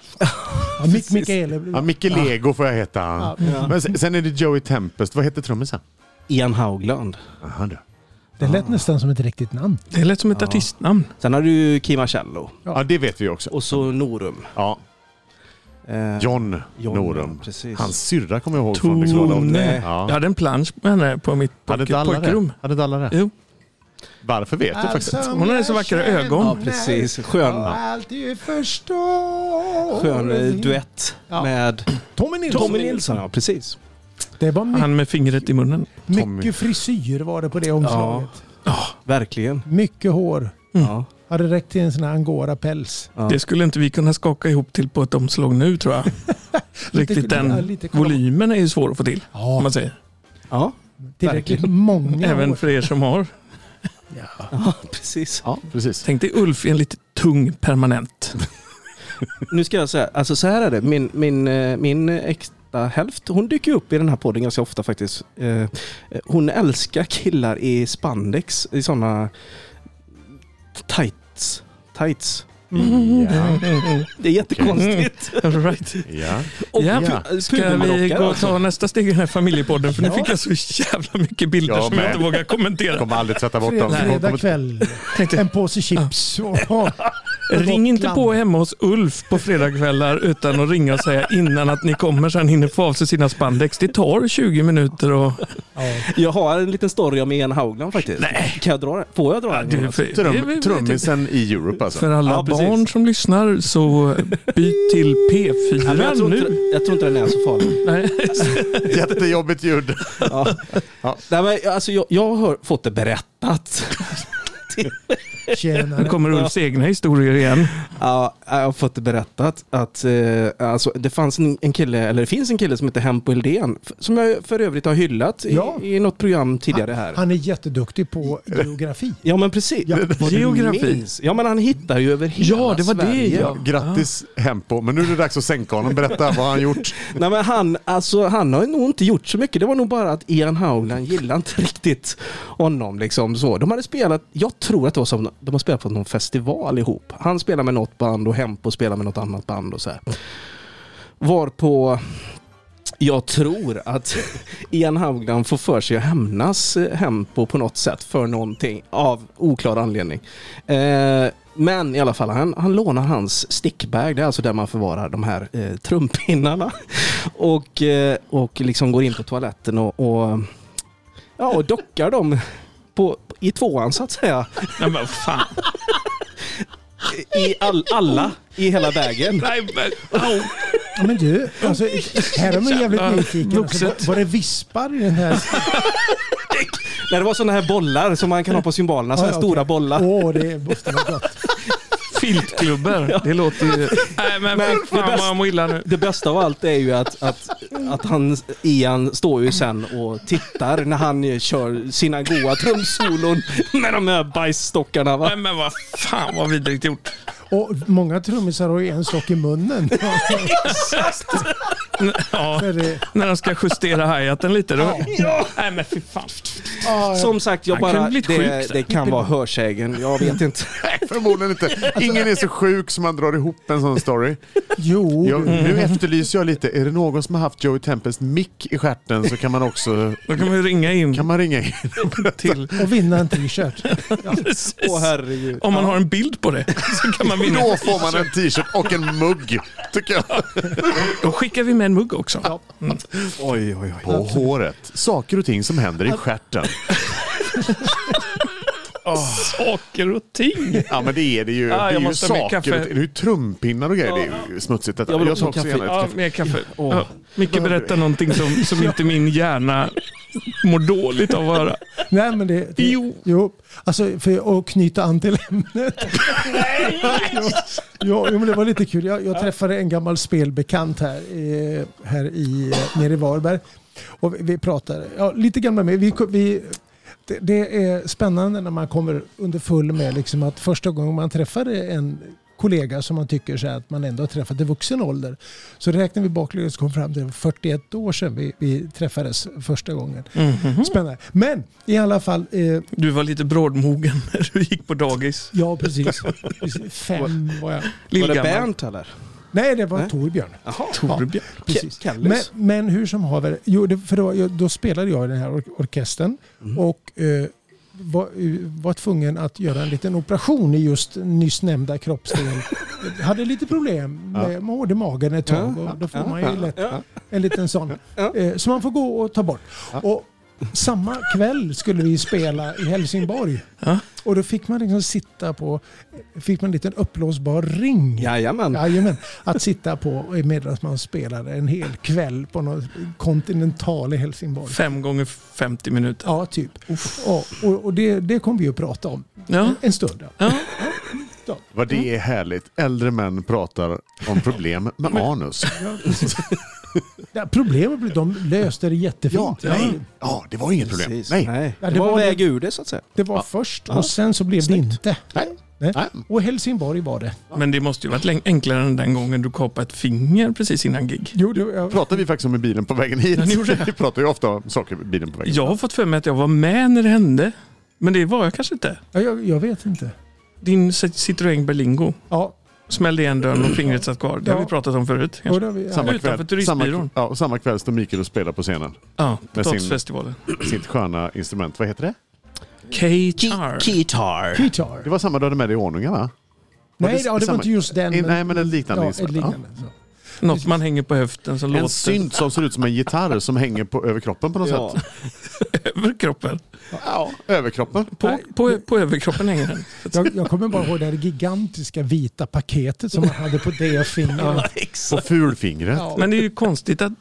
[SPEAKER 4] Ja, Mick Mikael.
[SPEAKER 1] Ja, Micke Lego får jag heta. Men sen, sen är det Joey Tempest. Vad heter trummisen?
[SPEAKER 2] Ian Haugland.
[SPEAKER 1] Aha, du.
[SPEAKER 4] Det lät nästan som ett riktigt namn.
[SPEAKER 3] Det lät som ett artistnamn.
[SPEAKER 2] Sen har du ju Kim Marcello
[SPEAKER 1] Ja, det vet vi också.
[SPEAKER 2] och så Norum.
[SPEAKER 1] Ja,
[SPEAKER 2] Eh,
[SPEAKER 1] John,
[SPEAKER 2] John,
[SPEAKER 1] Norum.
[SPEAKER 2] ja, precis.
[SPEAKER 1] Hans syrra kommer jag ihåg från Lyxlådan.
[SPEAKER 3] Tone. Jag
[SPEAKER 1] Ja.
[SPEAKER 3] hade en plansch med henne på mitt
[SPEAKER 1] Hade
[SPEAKER 3] pojk,
[SPEAKER 1] inte alla det?
[SPEAKER 3] pojkrum.
[SPEAKER 1] Hade inte alla det?
[SPEAKER 3] Jo.
[SPEAKER 1] Varför vet jag faktiskt
[SPEAKER 4] Alltså,
[SPEAKER 1] inte.
[SPEAKER 3] Hon hade så vackra ögon.
[SPEAKER 2] Ja, precis. Skön,
[SPEAKER 4] Allt du förstår.
[SPEAKER 2] skön eh, duett
[SPEAKER 4] Ja.
[SPEAKER 2] med
[SPEAKER 4] Tommy Nilsson.
[SPEAKER 2] Tommy Nilsson. Ja, precis.
[SPEAKER 4] Det var mycket,
[SPEAKER 3] Han med fingret i munnen.
[SPEAKER 1] Tommy.
[SPEAKER 4] mycket frisyr var det på det omslaget.
[SPEAKER 2] Verkligen.
[SPEAKER 4] Mycket hår.
[SPEAKER 3] Mm.
[SPEAKER 2] Ja.
[SPEAKER 4] Hade räckt till en sån här angora-päls.
[SPEAKER 2] Ja.
[SPEAKER 3] Det skulle inte vi kunna skaka ihop till på ett omslag nu
[SPEAKER 1] [laughs]
[SPEAKER 3] tror jag. Riktigt
[SPEAKER 4] ja,
[SPEAKER 3] den
[SPEAKER 4] lite kolla-
[SPEAKER 3] volymen är ju svår att få till. Om
[SPEAKER 4] Ja,
[SPEAKER 3] man säger.
[SPEAKER 2] Ja, [laughs]
[SPEAKER 4] tillräckligt
[SPEAKER 2] verkligen.
[SPEAKER 4] många
[SPEAKER 3] Även
[SPEAKER 4] år.
[SPEAKER 3] för er som har.
[SPEAKER 2] ja, precis.
[SPEAKER 1] Ja, precis.
[SPEAKER 3] Tänk dig Ulf i en lite tung
[SPEAKER 1] [laughs]
[SPEAKER 3] permanent.
[SPEAKER 2] Nu ska jag säga, alltså så här är det. Min, min, eh, min extra hälft, hon dyker upp i den här podden ganska ofta faktiskt. Eh, eh, Hon älskar killar i spandex, i sådana tights. Tights.
[SPEAKER 1] Ja.
[SPEAKER 2] Det är jättekonstigt.
[SPEAKER 3] All Right.
[SPEAKER 1] Ja.
[SPEAKER 2] Och
[SPEAKER 3] Mm. Ja.
[SPEAKER 2] pu-
[SPEAKER 3] Ska vi
[SPEAKER 2] pudelrockar,
[SPEAKER 3] gå och
[SPEAKER 2] alltså.
[SPEAKER 3] ta nästa steg i den här familjepodden? För nu fick jag så jävla mycket bilder
[SPEAKER 1] Jag
[SPEAKER 3] som jag
[SPEAKER 1] med.
[SPEAKER 3] inte vågar kommentera.
[SPEAKER 1] Kommer aldrig tvätta bort dem.
[SPEAKER 4] Fred-
[SPEAKER 1] Kommer-
[SPEAKER 4] Fredag
[SPEAKER 1] kommer-
[SPEAKER 4] kväll, en påse chips.
[SPEAKER 2] [laughs]
[SPEAKER 4] Och,
[SPEAKER 3] Ring inte på hemma hos Ulf på fredagkvällar utan att ringa och säga innan att ni kommer så han hinner få av sig sina spandex. Det tar 20 minuter och...
[SPEAKER 2] Jag har en liten story om Ian Haugland faktiskt. Nej. Kan jag dra den? Får jag dra den? Alltså,
[SPEAKER 3] Du, för,
[SPEAKER 1] Trum, trummisen i Europe alltså.
[SPEAKER 3] För alla
[SPEAKER 2] Ja, precis.
[SPEAKER 3] barn som lyssnar så byt till
[SPEAKER 2] Ja, men jag,
[SPEAKER 3] P4
[SPEAKER 2] tror inte,
[SPEAKER 3] nu.
[SPEAKER 2] jag tror inte den är så farlig.
[SPEAKER 3] Nej.
[SPEAKER 1] Jättejobbigt ljud.
[SPEAKER 2] Ja.
[SPEAKER 1] Ja.
[SPEAKER 2] Nej, men, alltså, jag, jag har fått det berättat.
[SPEAKER 4] Tjena.
[SPEAKER 3] Nu kommer Ulfs egna historier igen.
[SPEAKER 2] Ja, jag har fått det berättat att eh, alltså, det fanns en, en kille, eller det finns en kille som heter Hempo Hildén, f- som jag för övrigt har hyllat i,
[SPEAKER 4] Ja.
[SPEAKER 2] i något program tidigare här.
[SPEAKER 4] Han är jätteduktig på geografi.
[SPEAKER 2] ja men precis.
[SPEAKER 4] Ja,
[SPEAKER 2] Vad du
[SPEAKER 3] geografi.
[SPEAKER 2] minns. Ja men han hittar ju över hela
[SPEAKER 3] Ja, det var det,
[SPEAKER 2] Sverige.
[SPEAKER 3] ja.
[SPEAKER 1] Grattis Hempo, men nu är det dags att sänka honom. Berätta, vad har han gjort?
[SPEAKER 2] Nej men han, alltså, han har nog inte gjort så mycket. Det var nog bara att Ian Howland gillade inte [laughs] riktigt honom. Liksom, så. De hade spelat, jag tror att det var som, de har spelat på någon festival ihop. Han spelar med något band och Hempo spelar med något annat band och så
[SPEAKER 3] Mm.
[SPEAKER 2] här. Varpå jag tror att Ian Haugland får för sig att hämnas eh, Hempo på något sätt för någonting av oklar anledning. Eh, men i alla fall, han, han lånar hans stickbag, det är alltså där man förvarar de här eh, trumpinnarna. [laughs] Och, eh, och liksom går in på toaletten och, och, ja, och dockar dem på, i tvåan så att säga.
[SPEAKER 3] Nej, men fan.
[SPEAKER 2] I all, alla i hela vägen.
[SPEAKER 3] Nej, men, au.
[SPEAKER 4] Ja, men du, alltså, här är man jävligt
[SPEAKER 3] Jävlar,
[SPEAKER 4] nyfiken. Alltså,
[SPEAKER 3] vuxet.
[SPEAKER 4] var, var det vispar i den här?
[SPEAKER 2] Nej, det var sådana här bollar som man kan ha på cymbalerna, sådana här
[SPEAKER 4] Ja,
[SPEAKER 2] Alltså stora
[SPEAKER 4] okej.
[SPEAKER 2] bollar.
[SPEAKER 4] Åh, det måste vara gott.
[SPEAKER 3] Filtklubbor. Det låter ju... Nej, men, men
[SPEAKER 2] Men det
[SPEAKER 3] fan vad
[SPEAKER 2] bästa-
[SPEAKER 3] jag mår illa nu.
[SPEAKER 2] Det bästa av allt är ju att, att, att han, Ian står ju sen och tittar när han kör sina goa trumsolon med de här bajsstockarna. Va?
[SPEAKER 3] Nej, men vad fan vad vidrigt gjort.
[SPEAKER 4] Och många trummisar har ju en stock
[SPEAKER 2] [laughs]
[SPEAKER 4] i munnen.
[SPEAKER 3] Ja,
[SPEAKER 4] För det-
[SPEAKER 3] när de ska justera hi-haten lite. Då. Nej, men fy fan.
[SPEAKER 4] ja,
[SPEAKER 2] Som sagt, jag
[SPEAKER 3] Han kan
[SPEAKER 2] bara,
[SPEAKER 3] bli
[SPEAKER 2] det,
[SPEAKER 3] sjuk sen.
[SPEAKER 2] det kan vara hörsägen. Jag vet inte.
[SPEAKER 1] Nej, förmodligen inte. Ingen är så sjuk som man drar ihop en sån story.
[SPEAKER 4] jo,
[SPEAKER 1] Jag, nu efterlyser jag lite, är det någon som har haft Joey Tempest mick i stjärten så kan man också
[SPEAKER 3] Då kan man ju ringa in
[SPEAKER 1] kan man ringa in.
[SPEAKER 3] till...
[SPEAKER 4] och vinna en t-shirt.
[SPEAKER 3] Precis.
[SPEAKER 2] Åh herregud.
[SPEAKER 3] Om man har en bild på det så kan man vinna.
[SPEAKER 1] Då får man en t-shirt och en mugg, tycker jag.
[SPEAKER 3] Då skickar vi med en mugg också.
[SPEAKER 2] Oj, oj, oj.
[SPEAKER 1] På håret. Saker och ting som händer i stjärten.
[SPEAKER 3] Saker och ting.
[SPEAKER 1] Ja men det är det ju.
[SPEAKER 3] Ja,
[SPEAKER 1] det
[SPEAKER 3] jag
[SPEAKER 1] är ju
[SPEAKER 3] måste ha mer
[SPEAKER 1] saker och ting.
[SPEAKER 3] kaffe.
[SPEAKER 1] Det är ju trumpinnar och grejer. Det är ju smutsigt detta.
[SPEAKER 2] Jag vill
[SPEAKER 1] Jag,
[SPEAKER 2] också
[SPEAKER 1] tar
[SPEAKER 2] ha
[SPEAKER 1] också
[SPEAKER 2] kaffe.
[SPEAKER 1] gärna
[SPEAKER 3] Ja,
[SPEAKER 1] ett
[SPEAKER 3] mer kaffe.
[SPEAKER 2] Åh.
[SPEAKER 3] Ja, Micke berättar någonting som, som inte min hjärna mår dåligt av att höra.
[SPEAKER 4] Nej, men det, det,
[SPEAKER 3] Jo.
[SPEAKER 4] jo. Alltså, för att knyta an till ämnet. Jo, jo, men det var lite kul. Jag, jag träffade en gammal spelbekant här, eh, här i, eh, nere i Varberg. Och vi, vi pratade ja, lite grann med mig. Vi, ko- vi, Det, det är spännande när man kommer underfull med liksom att första gången man träffade en kollega som man tycker så här att man ändå har träffat i vuxen ålder. Så räknar vi baklänges och kom fram till 41 år sedan vi, vi träffades första gången. Spännande. Men i alla fall, eh,
[SPEAKER 3] Du var lite brådmogen [laughs] när du gick på dagis.
[SPEAKER 4] ja precis. Precis. Fem var jag.
[SPEAKER 2] Var det
[SPEAKER 3] Lillgammal.
[SPEAKER 2] Bernt eller?
[SPEAKER 4] Nej, det var
[SPEAKER 2] Nej.
[SPEAKER 4] Torbjörn.
[SPEAKER 2] Jaha.
[SPEAKER 3] Torbjörn.
[SPEAKER 4] Precis. Men,
[SPEAKER 2] Kallis.
[SPEAKER 4] men hur som haver, jo, det, för då, då spelade jag i den här or- orkestern och eh, var, eh, var tvungen att göra en liten operation i just nyss nämnda kroppsdel. Jag hade lite problem med, med hård i magen ett tag och då får man ju lätt en liten sån. Eh, så man får gå och ta bort. Och samma kväll skulle vi spela i Helsingborg. Och då fick man liksom sitta på, fick man en liten uppblåsbar ring.
[SPEAKER 2] Jajamän.
[SPEAKER 4] Jajamän, att sitta på medan man spelade en hel kväll på något kontinental i Helsingborg.
[SPEAKER 3] Fem gånger 50 minuter.
[SPEAKER 4] Ja, typ. Ja, och och det, det kom vi att prata om
[SPEAKER 3] Ja.
[SPEAKER 4] en stund.
[SPEAKER 3] Ja.
[SPEAKER 1] Vad det är härligt. Äldre män pratar om problem med anus.
[SPEAKER 4] Ja, problemet blev de löste det jättefint.
[SPEAKER 1] nej. Ja, det var inget problem.
[SPEAKER 2] Precis.
[SPEAKER 1] Nej.
[SPEAKER 2] Nej.
[SPEAKER 4] Ja,
[SPEAKER 2] det,
[SPEAKER 4] det
[SPEAKER 2] var
[SPEAKER 4] var-
[SPEAKER 2] väg ur det så att säga.
[SPEAKER 4] Det var först och sen så blev det inte.
[SPEAKER 1] Nej.
[SPEAKER 4] Nej.
[SPEAKER 1] Nej.
[SPEAKER 4] Och Helsingborg var det.
[SPEAKER 3] Men det måste ju varit läng- enklare än den gången du kapade ett finger precis innan gig.
[SPEAKER 4] Jo, det, jag,
[SPEAKER 1] Pratar vi faktiskt om i bilen på vägen hit.
[SPEAKER 3] Ja, ni gjorde det.
[SPEAKER 1] Vi pratar ju ofta om saker i bilen på vägen.
[SPEAKER 3] Jag har fått för mig att jag var med när det hände. Men det var jag kanske inte.
[SPEAKER 4] ja, jag, jag vet inte.
[SPEAKER 3] Din Cit- Citroën Berlingo
[SPEAKER 4] Ja,
[SPEAKER 3] smällde igen dörren och fingret satt kvar. Det har
[SPEAKER 4] Ja.
[SPEAKER 3] vi pratat om förut.
[SPEAKER 4] och
[SPEAKER 3] Kanske.
[SPEAKER 4] då, vi-
[SPEAKER 1] Samma
[SPEAKER 3] Utanför
[SPEAKER 1] kväll, samma,
[SPEAKER 3] turistbyrån.
[SPEAKER 1] ja, samma kväll står Mikael och spelar på scenen.
[SPEAKER 3] Ja,
[SPEAKER 1] Med sin-
[SPEAKER 3] Potatisfestivalen.
[SPEAKER 1] Sitt sköna instrument. Vad heter det?
[SPEAKER 3] K-Char.
[SPEAKER 2] Guitar.
[SPEAKER 4] guitar.
[SPEAKER 1] Det var samma du hade med dig i ordningen va?
[SPEAKER 4] nej,
[SPEAKER 1] det-
[SPEAKER 4] det, ja, det var
[SPEAKER 1] samma-
[SPEAKER 4] inte just den.
[SPEAKER 1] I- nej, men ett liknande
[SPEAKER 4] Ja,
[SPEAKER 1] instrument.
[SPEAKER 4] ett liknande. så.
[SPEAKER 3] Något man hänger på höften som
[SPEAKER 1] En
[SPEAKER 3] låter
[SPEAKER 1] synt som ser ut som en gitarr som hänger på, över kroppen på något [laughs]
[SPEAKER 2] Ja.
[SPEAKER 1] sätt.
[SPEAKER 3] över kroppen.
[SPEAKER 1] Ja, över kroppen.
[SPEAKER 3] På, på, på överkroppen hänger den.
[SPEAKER 4] Jag, jag kommer bara ihåg det här gigantiska vita paketet som man hade på det fingret.
[SPEAKER 1] På fulfingret.
[SPEAKER 4] Ja.
[SPEAKER 3] Men det är ju konstigt att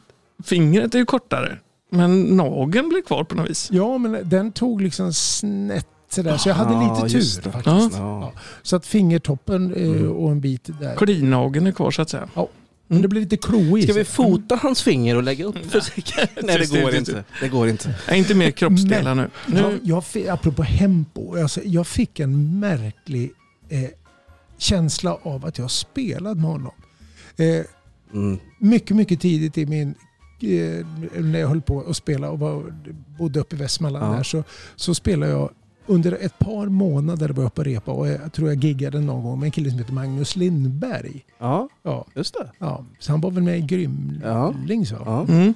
[SPEAKER 3] fingret är ju kortare. Men nageln blir kvar på något vis.
[SPEAKER 4] Ja, men den tog liksom snett sådär. Så jag
[SPEAKER 2] Ja,
[SPEAKER 4] hade lite
[SPEAKER 2] just
[SPEAKER 4] tur
[SPEAKER 2] det. Mm.
[SPEAKER 4] faktiskt.
[SPEAKER 2] Ja.
[SPEAKER 4] Så att fingertoppen eh, och en bit där.
[SPEAKER 3] Kordinageln är kvar så att säga.
[SPEAKER 4] Men det blev lite kroig.
[SPEAKER 2] Ska vi fota hans finger och lägga upp för säkerhet? Nej,
[SPEAKER 3] Just
[SPEAKER 2] det
[SPEAKER 3] det,
[SPEAKER 2] går
[SPEAKER 3] just
[SPEAKER 2] inte. Det går inte.
[SPEAKER 3] Nej, inte mer kroppsdelar nu.
[SPEAKER 4] jag,
[SPEAKER 3] nu
[SPEAKER 4] jag fick, apropå Hempo, alltså, jag fick en märklig eh, känsla av att jag spelat med honom. Eh,
[SPEAKER 2] Mm.
[SPEAKER 4] mycket, mycket tidigt i min eh, när jag höll på att spela och var, bodde uppe i Västmanland
[SPEAKER 2] Ja.
[SPEAKER 4] där, så, så spelade jag under ett par månader var jag uppe och repa och jag tror jag giggade någon gång med en kille som heter Magnus Lindberg.
[SPEAKER 2] Ja,
[SPEAKER 4] Ja,
[SPEAKER 2] just det.
[SPEAKER 4] ja. Så han var väl med i Grymling så.
[SPEAKER 2] Ja.
[SPEAKER 3] mm.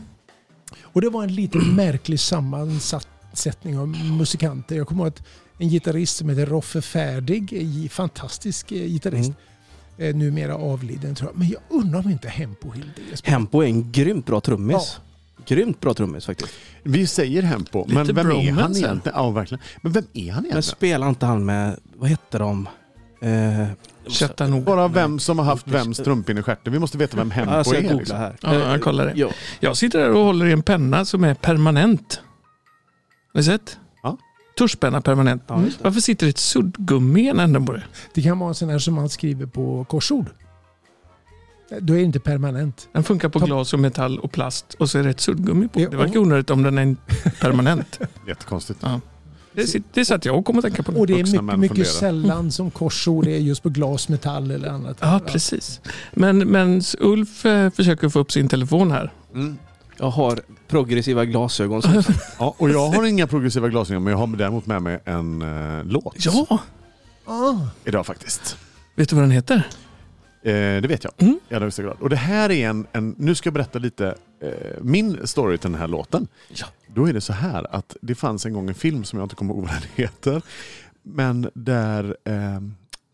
[SPEAKER 4] Och det var en lite märklig sammansättning av musikanter. Jag kommer ihåg att en gitarrist som heter Roffe Färdig, en gi- fantastisk eh, gitarrist,
[SPEAKER 2] Mm.
[SPEAKER 4] eh, numera avliden tror jag. Men jag undrar om inte Hempo Hildé spelar.
[SPEAKER 2] Hempo är en grymt bra trummis. Grymt bra trummis faktiskt.
[SPEAKER 1] Vi säger Hempo,
[SPEAKER 3] Lite
[SPEAKER 1] men vem är han
[SPEAKER 3] bromance här.
[SPEAKER 1] egentligen? Ja, verkligen. Men vem är han
[SPEAKER 2] Men
[SPEAKER 1] egentligen?
[SPEAKER 2] spelar inte han med, vad hette de? Eh,
[SPEAKER 3] Chattanooga.
[SPEAKER 1] Bara vem som har haft vems strumpin i stjärten. Vi måste veta vem Hempo
[SPEAKER 2] alltså, jag ska
[SPEAKER 1] är.
[SPEAKER 2] googla
[SPEAKER 1] Liksom.
[SPEAKER 2] här.
[SPEAKER 3] Ja, jag kollar det.
[SPEAKER 2] Ja.
[SPEAKER 3] Jag sitter här och håller i en penna som är permanent. Har ni sett?
[SPEAKER 1] Ja.
[SPEAKER 3] Tuschpenna permanent.
[SPEAKER 2] Ja, just det.
[SPEAKER 3] Varför sitter det ett suddgummi i en ände på det?
[SPEAKER 4] Det kan vara en sån här som man skriver på korsord. Då är det inte permanent.
[SPEAKER 3] Den funkar på
[SPEAKER 4] Ta-
[SPEAKER 3] glas och metall och plast och så är det ett suddgummi på.
[SPEAKER 4] Ja,
[SPEAKER 3] Det verkar onödigt om den är permanent.
[SPEAKER 1] [laughs] Jättekonstigt.
[SPEAKER 3] Det, sit- det satt jag och kom att tänka på nu.
[SPEAKER 4] Och det är
[SPEAKER 1] Vuxna
[SPEAKER 4] mycket,
[SPEAKER 1] män
[SPEAKER 4] mycket
[SPEAKER 1] funderar. [laughs]
[SPEAKER 4] sällan som korsord är just på glas, metall eller annat.
[SPEAKER 3] Ja, precis. Men, men Ulf eh, försöker få upp sin telefon här.
[SPEAKER 2] Jag har progressiva glasögon. Som
[SPEAKER 1] Ja, och jag har inga progressiva glasögon, men jag har däremot med mig en eh, låt
[SPEAKER 3] Ja,
[SPEAKER 4] Ah,
[SPEAKER 1] idag faktiskt.
[SPEAKER 3] vet du vad den heter?
[SPEAKER 1] Eh, det vet jag.
[SPEAKER 3] Mm.
[SPEAKER 1] I allra högsta grad. Och det här är en, en... Nu ska jag berätta lite eh, min story till den här låten.
[SPEAKER 3] Ja.
[SPEAKER 1] Då är det så här att det fanns en gång en film som jag inte kommer ihåg vad den [laughs] heter. Men där eh,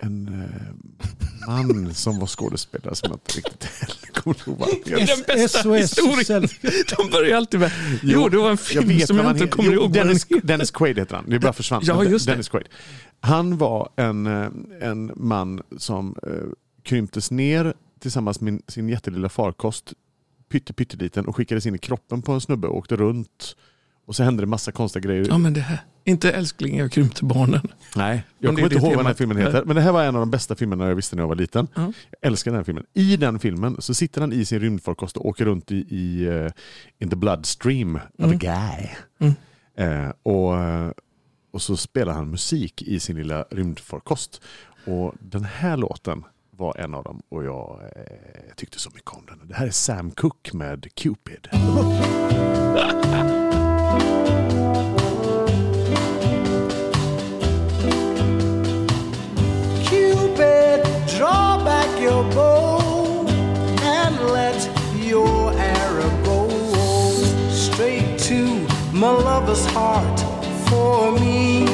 [SPEAKER 1] en eh, man som var skådespelare som jag inte riktigt heller kommer ihåg vad han heter.
[SPEAKER 3] Den bästa historien. De börjar alltid med... Jo, det var en
[SPEAKER 1] Jag
[SPEAKER 3] film
[SPEAKER 1] vet
[SPEAKER 3] som
[SPEAKER 1] vad
[SPEAKER 3] jag
[SPEAKER 1] han
[SPEAKER 3] inte
[SPEAKER 1] heter.
[SPEAKER 3] kommer
[SPEAKER 1] Jo,
[SPEAKER 3] ihåg. vad den
[SPEAKER 1] Dennis,
[SPEAKER 3] heter.
[SPEAKER 1] Dennis Quaid heter han. Det bara försvann.
[SPEAKER 3] Ja, just det.
[SPEAKER 1] Dennis Quaid. Han var en, eh, en man som eh, krymptes ner tillsammans med sin jättelilla farkost, pytte, pytteliten, och skickades in i kroppen på en snubbe och åkte runt. Och så hände det massa konstiga grejer.
[SPEAKER 3] Ja, men det här. Inte älskling, jag krympte barnen.
[SPEAKER 1] Nej,
[SPEAKER 3] det är
[SPEAKER 1] jag kommer inte
[SPEAKER 3] det
[SPEAKER 1] ihåg vad den här
[SPEAKER 3] temat.
[SPEAKER 1] filmen heter. Men det här var en av de bästa filmerna jag visste när jag var liten.
[SPEAKER 3] Ja.
[SPEAKER 1] Jag älskar den här filmen. I den filmen så sitter han i sin rymdfarkost och åker runt i,
[SPEAKER 3] Mm.
[SPEAKER 1] i eh, In the bloodstream of a guy. Eh, och eh, Och så spelar han musik i sin lilla rymdfarkost. Och den här låten var en av dem och jag eh, tyckte så mycket om den. Det här är Sam Cooke med Cupid.
[SPEAKER 6] Cupid, draw back your bow and let your arrow go straight to my lover's heart for me,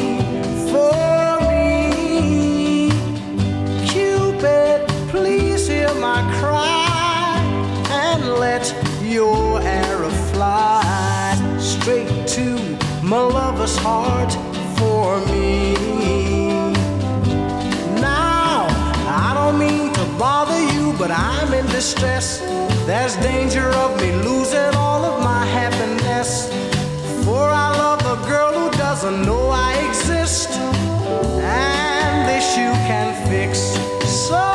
[SPEAKER 6] for me. Cupid, please hear my cry and let your arrow fly straight to my lover's heart for me. Now, I don't mean to bother you, but I'm in distress. There's danger of me losing all of my happiness. For I love a girl who doesn't know I exist, and this you can fix. So,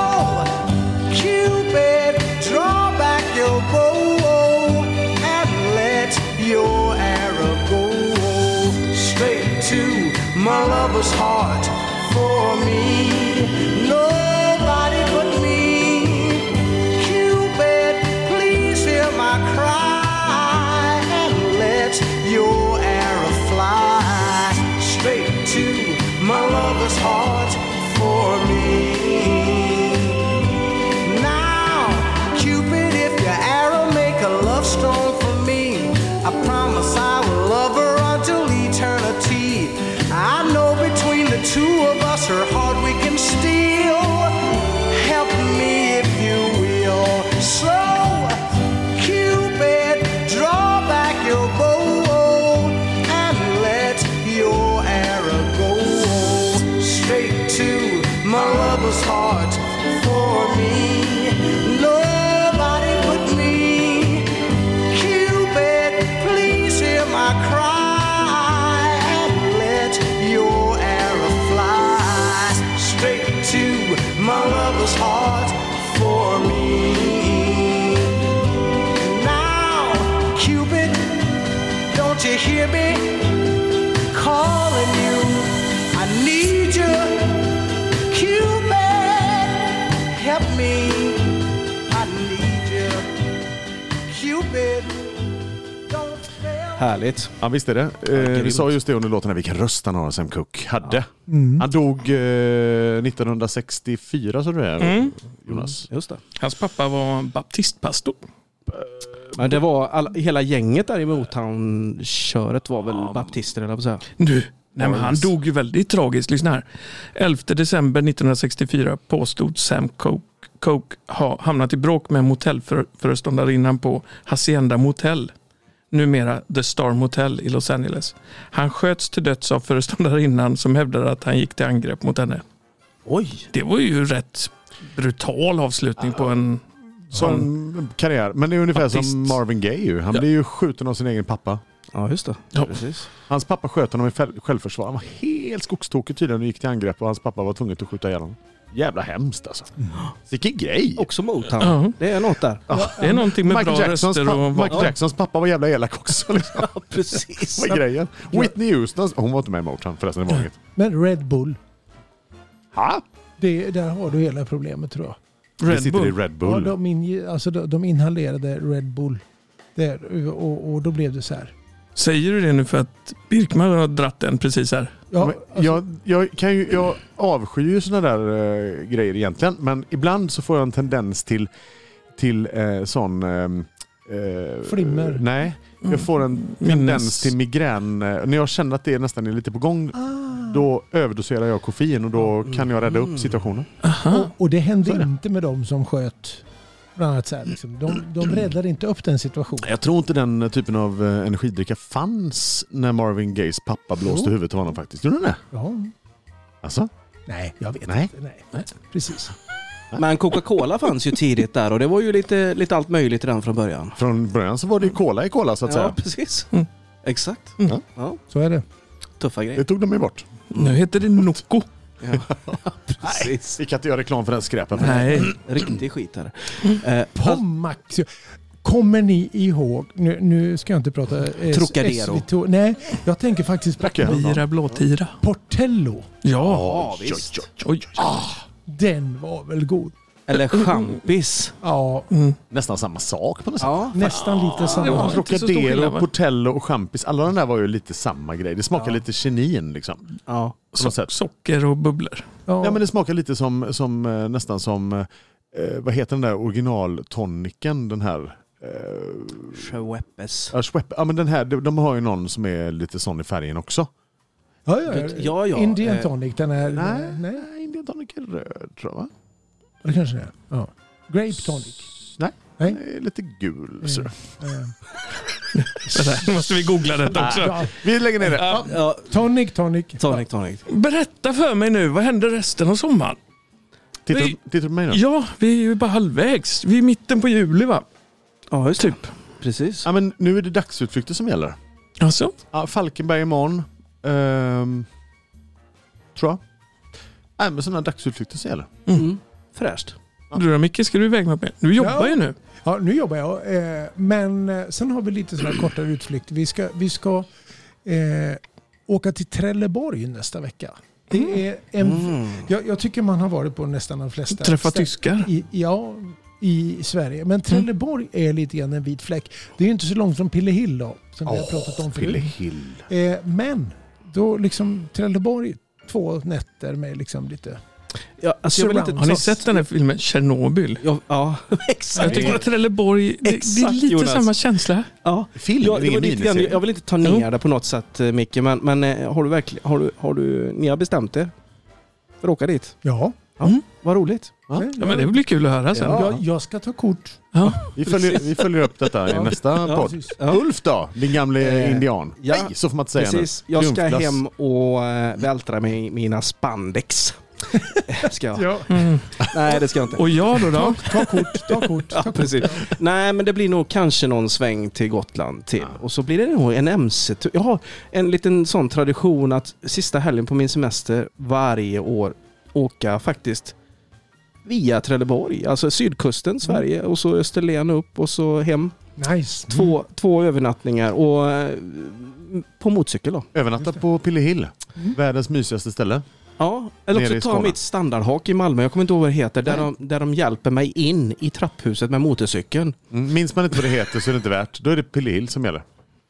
[SPEAKER 6] Cupid, draw back your bow and let your arrow go straight to my lover's heart for me. Nobody but me. Cupid, please hear my cry and let your arrow fly straight to my lover's heart for me. Now, Cupid, if your arrow make a love stone for me, I promise I will love her until eternity. I know between the two of us, her heart we can steal. Help me if you will. So, Cupid, draw back your bow and let your arrow go straight to my lover's heart for me. Nobody but me. Cupid, please hear my cry and let your arrow fly straight to my lover's heart for me. Now, Cupid, don't you hear me calling you? I need you. Cupid, help me. I need you. Cupid, don't fail.
[SPEAKER 2] Härligt.
[SPEAKER 1] Ja, visst är det. Eh, vi
[SPEAKER 2] grymt.
[SPEAKER 1] sa just det under låten här, vilken röst han har, Sam Cooke. Hade. Han dog eh, 1964, så du är,
[SPEAKER 3] Mm.
[SPEAKER 1] Jonas.
[SPEAKER 2] Just det.
[SPEAKER 3] Hans pappa var baptistpastor.
[SPEAKER 2] Men det var alla, hela gänget där i Motown-köret var väl baptister eller vad säga.
[SPEAKER 3] Nu. Nej, men han dog ju väldigt tragiskt. Lyssna här. 11 december 1964 påstod Sam Coke, Coke ha hamnat i bråk med motellföreståndarinnan på Hacienda Motel, numera The Star Motel i Los Angeles. Han sköts till döds av föreståndarinnan som hävdade att han gick till angrepp mot henne.
[SPEAKER 2] Oj!
[SPEAKER 3] Det var ju rätt brutal avslutning på en... Mm.
[SPEAKER 1] Som karriär. Men det är ungefär
[SPEAKER 3] Artist.
[SPEAKER 1] som Marvin Gaye ju. Han
[SPEAKER 3] Ja.
[SPEAKER 1] blev ju skjuten av sin egen pappa.
[SPEAKER 2] Ja, just det.
[SPEAKER 3] Ja.
[SPEAKER 2] Precis.
[SPEAKER 1] Hans pappa sköt honom i fäl- självförsvar. Han var helt skogstokig tydligen och gick till angrepp och hans pappa var tvungen att skjuta ihjäl honom. Jävla hemskt alltså.
[SPEAKER 3] Mm.
[SPEAKER 1] Vilken grej!
[SPEAKER 2] Också Motown.
[SPEAKER 3] Ja.
[SPEAKER 2] Det är något där.
[SPEAKER 3] Det är någonting med
[SPEAKER 1] Michael
[SPEAKER 3] bra
[SPEAKER 1] Jacksons,
[SPEAKER 3] röster
[SPEAKER 1] pappa,
[SPEAKER 3] och
[SPEAKER 1] Michael
[SPEAKER 3] vapen.
[SPEAKER 1] Jacksons pappa var jävla elak också. Liksom.
[SPEAKER 2] precis.
[SPEAKER 1] Vad
[SPEAKER 3] [laughs]
[SPEAKER 1] är grejen? Whitney Houston, hon var inte med i Motown förresten. Det var inget.
[SPEAKER 4] Men Red Bull,
[SPEAKER 1] Ha?
[SPEAKER 4] det, där har du hela problemet tror jag.
[SPEAKER 1] Det
[SPEAKER 3] Red
[SPEAKER 1] sitter i
[SPEAKER 3] Bull.
[SPEAKER 1] Red
[SPEAKER 4] Ja,
[SPEAKER 1] Bull.
[SPEAKER 4] de, inge- alltså, de, de inhalerade Red Bull. Där, och, och då blev det så här.
[SPEAKER 3] Säger du det nu för att Birkman har dratt den precis här?
[SPEAKER 4] Ja,
[SPEAKER 1] Men
[SPEAKER 4] alltså,
[SPEAKER 1] jag, jag, kan ju, jag avskyr ju sådana där eh, grejer egentligen, men ibland så får jag en tendens till, till eh, sån... eh, eh,
[SPEAKER 4] Flimmer. Mm.
[SPEAKER 1] Nej, jag får en
[SPEAKER 3] Mm. Minnes.
[SPEAKER 1] tendens till migrän. eh, När jag känner att det nästan är lite på gång,
[SPEAKER 4] Ah.
[SPEAKER 1] då överdoserar jag koffein och då kan jag rädda
[SPEAKER 4] Mm.
[SPEAKER 1] upp situationen.
[SPEAKER 4] och, och det
[SPEAKER 1] Så är
[SPEAKER 4] hände
[SPEAKER 1] det.
[SPEAKER 4] inte med de som sköt. Bland annat så här, liksom. de, de räddade inte upp den situationen.
[SPEAKER 1] Jag tror inte den typen av eh, energidricka fanns när Marvin Gayes pappa blåste
[SPEAKER 4] Jo.
[SPEAKER 1] huvudet av honom faktiskt. Gjorde den det?
[SPEAKER 4] Ja.
[SPEAKER 1] Alltså?
[SPEAKER 4] Nej, jag vet
[SPEAKER 1] Nej.
[SPEAKER 4] inte. Nej. Precis.
[SPEAKER 2] [laughs] Men Coca-Cola fanns ju tidigt där och det var ju lite, lite allt möjligt redan från början.
[SPEAKER 1] Från början så var det ju cola i cola så att
[SPEAKER 2] Ja,
[SPEAKER 1] säga.
[SPEAKER 2] precis.
[SPEAKER 3] Mm.
[SPEAKER 2] Exakt.
[SPEAKER 1] Mm.
[SPEAKER 2] Ja,
[SPEAKER 4] Så är det.
[SPEAKER 2] tuffa
[SPEAKER 1] Det
[SPEAKER 2] grejer.
[SPEAKER 1] tog de ju bort.
[SPEAKER 3] Nu heter det Nocco.
[SPEAKER 2] [laughs] Precis.
[SPEAKER 1] Vi kan inte göra reklam för den skräpen.
[SPEAKER 3] Nej.
[SPEAKER 2] Riktig skit här. Eh,
[SPEAKER 4] Pommax. Alltså, Kommer ni ihåg, nu, nu ska jag inte prata eh,
[SPEAKER 2] Trocadero.
[SPEAKER 4] SVT nej, jag tänker faktiskt på
[SPEAKER 1] Tackar.
[SPEAKER 3] Bira blåtira.
[SPEAKER 4] Portello.
[SPEAKER 3] Ja.
[SPEAKER 2] alltså, Ja, visst.
[SPEAKER 3] Oj.
[SPEAKER 4] Den var väl god?
[SPEAKER 2] Eller champis.
[SPEAKER 4] Ja,
[SPEAKER 3] Mm.
[SPEAKER 1] Nästan samma sak på något sätt.
[SPEAKER 2] Ja.
[SPEAKER 4] nästan lite
[SPEAKER 3] det var-
[SPEAKER 4] samma.
[SPEAKER 3] inte så stor skillnad,
[SPEAKER 1] Trocadero,
[SPEAKER 3] va?
[SPEAKER 1] Portello och champis. Alla de där var ju lite samma grej. Det smakar lite genin liksom.
[SPEAKER 2] ja.
[SPEAKER 1] På något sätt.
[SPEAKER 3] Socker och bubblor.
[SPEAKER 4] Ja,
[SPEAKER 1] Ja men det smakar lite som, som eh, nästan som, eh, vad heter den där originaltoniken? Den här eh,
[SPEAKER 2] Schweppes.
[SPEAKER 1] Ja, Schweppe. Ja, men den här, de de har ju någon som är lite sån i färgen också.
[SPEAKER 4] ja, ja,
[SPEAKER 2] Ja, ja.
[SPEAKER 4] Indian
[SPEAKER 2] Eh,
[SPEAKER 4] tonic, den är...
[SPEAKER 1] Nej.
[SPEAKER 4] nej.
[SPEAKER 1] Eh, Nej, Indian tonic är röd tror jag va?
[SPEAKER 4] Det kanske det är. Ja. Grape
[SPEAKER 1] [laughs]
[SPEAKER 4] tonic.
[SPEAKER 1] Nej,
[SPEAKER 4] Nej.
[SPEAKER 1] den är lite
[SPEAKER 3] Mm.
[SPEAKER 1] gul. Så.
[SPEAKER 4] Eh,
[SPEAKER 3] Nu måste vi googla detta också.
[SPEAKER 4] ja,
[SPEAKER 1] Vi lägger ner det. Ja.
[SPEAKER 2] Ja,
[SPEAKER 4] tonic, tonic.
[SPEAKER 2] tonic, tonic.
[SPEAKER 3] Berätta för mig nu, vad händer resten av sommaren?
[SPEAKER 1] Tittar,
[SPEAKER 3] vi-
[SPEAKER 1] tittar du på mig nu?
[SPEAKER 3] Ja, vi är ju bara halvvägs. Vi är i mitten på juli va?
[SPEAKER 2] Ja, just
[SPEAKER 3] Typ.
[SPEAKER 2] Precis.
[SPEAKER 1] Ja, men nu är det dagsutflykter som gäller.
[SPEAKER 3] Alltså?
[SPEAKER 1] Ja, Falkenberg imorgon. Ehm, tror jag. Nej, men sådana dagsutflykter som gäller.
[SPEAKER 2] Mm. Fräscht.
[SPEAKER 3] Du då Micke, ska du iväg med mig? Du jobbar
[SPEAKER 4] Ja.
[SPEAKER 3] ju nu.
[SPEAKER 4] Ja, nu jobbar jag. Eh, men eh, sen har vi lite sådana här kortare utflykter. Vi ska, vi ska eh, åka till Trelleborg nästa vecka.
[SPEAKER 3] Mm.
[SPEAKER 4] Det är en,
[SPEAKER 2] Mm.
[SPEAKER 4] jag, jag tycker man har varit på nästan de flesta.
[SPEAKER 3] Träffa
[SPEAKER 4] ställen.
[SPEAKER 3] tyskar.
[SPEAKER 4] I, ja, i Sverige.
[SPEAKER 3] Mm.
[SPEAKER 4] Men Trelleborg är lite grann en vit fläck. Det är ju inte så långt från Pillehill då, som vi har pratat om
[SPEAKER 1] Pille
[SPEAKER 4] förut.
[SPEAKER 1] Hill.
[SPEAKER 4] Eh, men då liksom Trelleborg, två nätter med liksom lite...
[SPEAKER 2] Ja, alltså, jag vill inte...
[SPEAKER 4] Surround.
[SPEAKER 3] Har ni sett den här filmen Tjernobyl?
[SPEAKER 2] Ja, ja [laughs]
[SPEAKER 3] Jag
[SPEAKER 2] exakt.
[SPEAKER 3] tycker att Trelleborg, det, det är
[SPEAKER 2] Exakt,
[SPEAKER 3] lite
[SPEAKER 2] Jonas.
[SPEAKER 3] samma känsla.
[SPEAKER 2] Ja.
[SPEAKER 1] Film,
[SPEAKER 2] Ja,
[SPEAKER 1] det är
[SPEAKER 2] det var
[SPEAKER 1] ingen
[SPEAKER 2] lite grann, jag
[SPEAKER 1] miniserie.
[SPEAKER 2] vill inte ta ner det på något sätt eh, Micke, men, men eh, har du verkligen, har du, har du, ni har bestämt er? För att åka dit?
[SPEAKER 4] Ja,
[SPEAKER 2] Vad roligt.
[SPEAKER 3] Ja, men det blir kul att höra sen.
[SPEAKER 2] Ja.
[SPEAKER 4] jag, jag ska ta kort.
[SPEAKER 1] Vi följer, vi följer upp detta i
[SPEAKER 2] Ja.
[SPEAKER 1] nästa
[SPEAKER 2] Ja,
[SPEAKER 1] podd.
[SPEAKER 4] precis.
[SPEAKER 2] Ja.
[SPEAKER 1] Ulf då, din gamle
[SPEAKER 2] Eh,
[SPEAKER 1] indian.
[SPEAKER 2] ja,
[SPEAKER 1] Nej, så får man inte säga nu.
[SPEAKER 2] Precis, jag ska
[SPEAKER 1] Triumfglass.
[SPEAKER 2] hem och eh, vältra mig i mina spandex. Eh,
[SPEAKER 1] [laughs]
[SPEAKER 2] ska jag?
[SPEAKER 4] Ja.
[SPEAKER 3] Mm.
[SPEAKER 2] Nej, det ska jag inte.
[SPEAKER 3] Och jag då? då?
[SPEAKER 4] Ta kort, ta kort, ta
[SPEAKER 2] Ja,
[SPEAKER 4] kort.
[SPEAKER 2] precis. Nej, men det blir nog kanske någon sväng till Gotland till. Och så blir det nog en MC-tur. Jag har en liten sån tradition att sista helgen på min semester varje år åka faktiskt via Trelleborg, alltså sydkusten, Sverige och så Österlen upp och så hem.
[SPEAKER 4] Nice.
[SPEAKER 2] Två, två övernattningar och eh, på motorcykel då.
[SPEAKER 1] Övernattat på Pillehill.
[SPEAKER 2] Mm.
[SPEAKER 1] Världens mysigaste ställe.
[SPEAKER 2] Ja, eller
[SPEAKER 1] Nere i
[SPEAKER 2] också ta
[SPEAKER 1] Skåne.
[SPEAKER 2] mitt standardhak i Malmö, jag kommer inte ihåg vad det heter, där de, där de hjälper mig in i trapphuset med motorcykeln.
[SPEAKER 1] Mm, Minns man inte vad det heter så är det inte värt. Då är det Pillehill som gäller.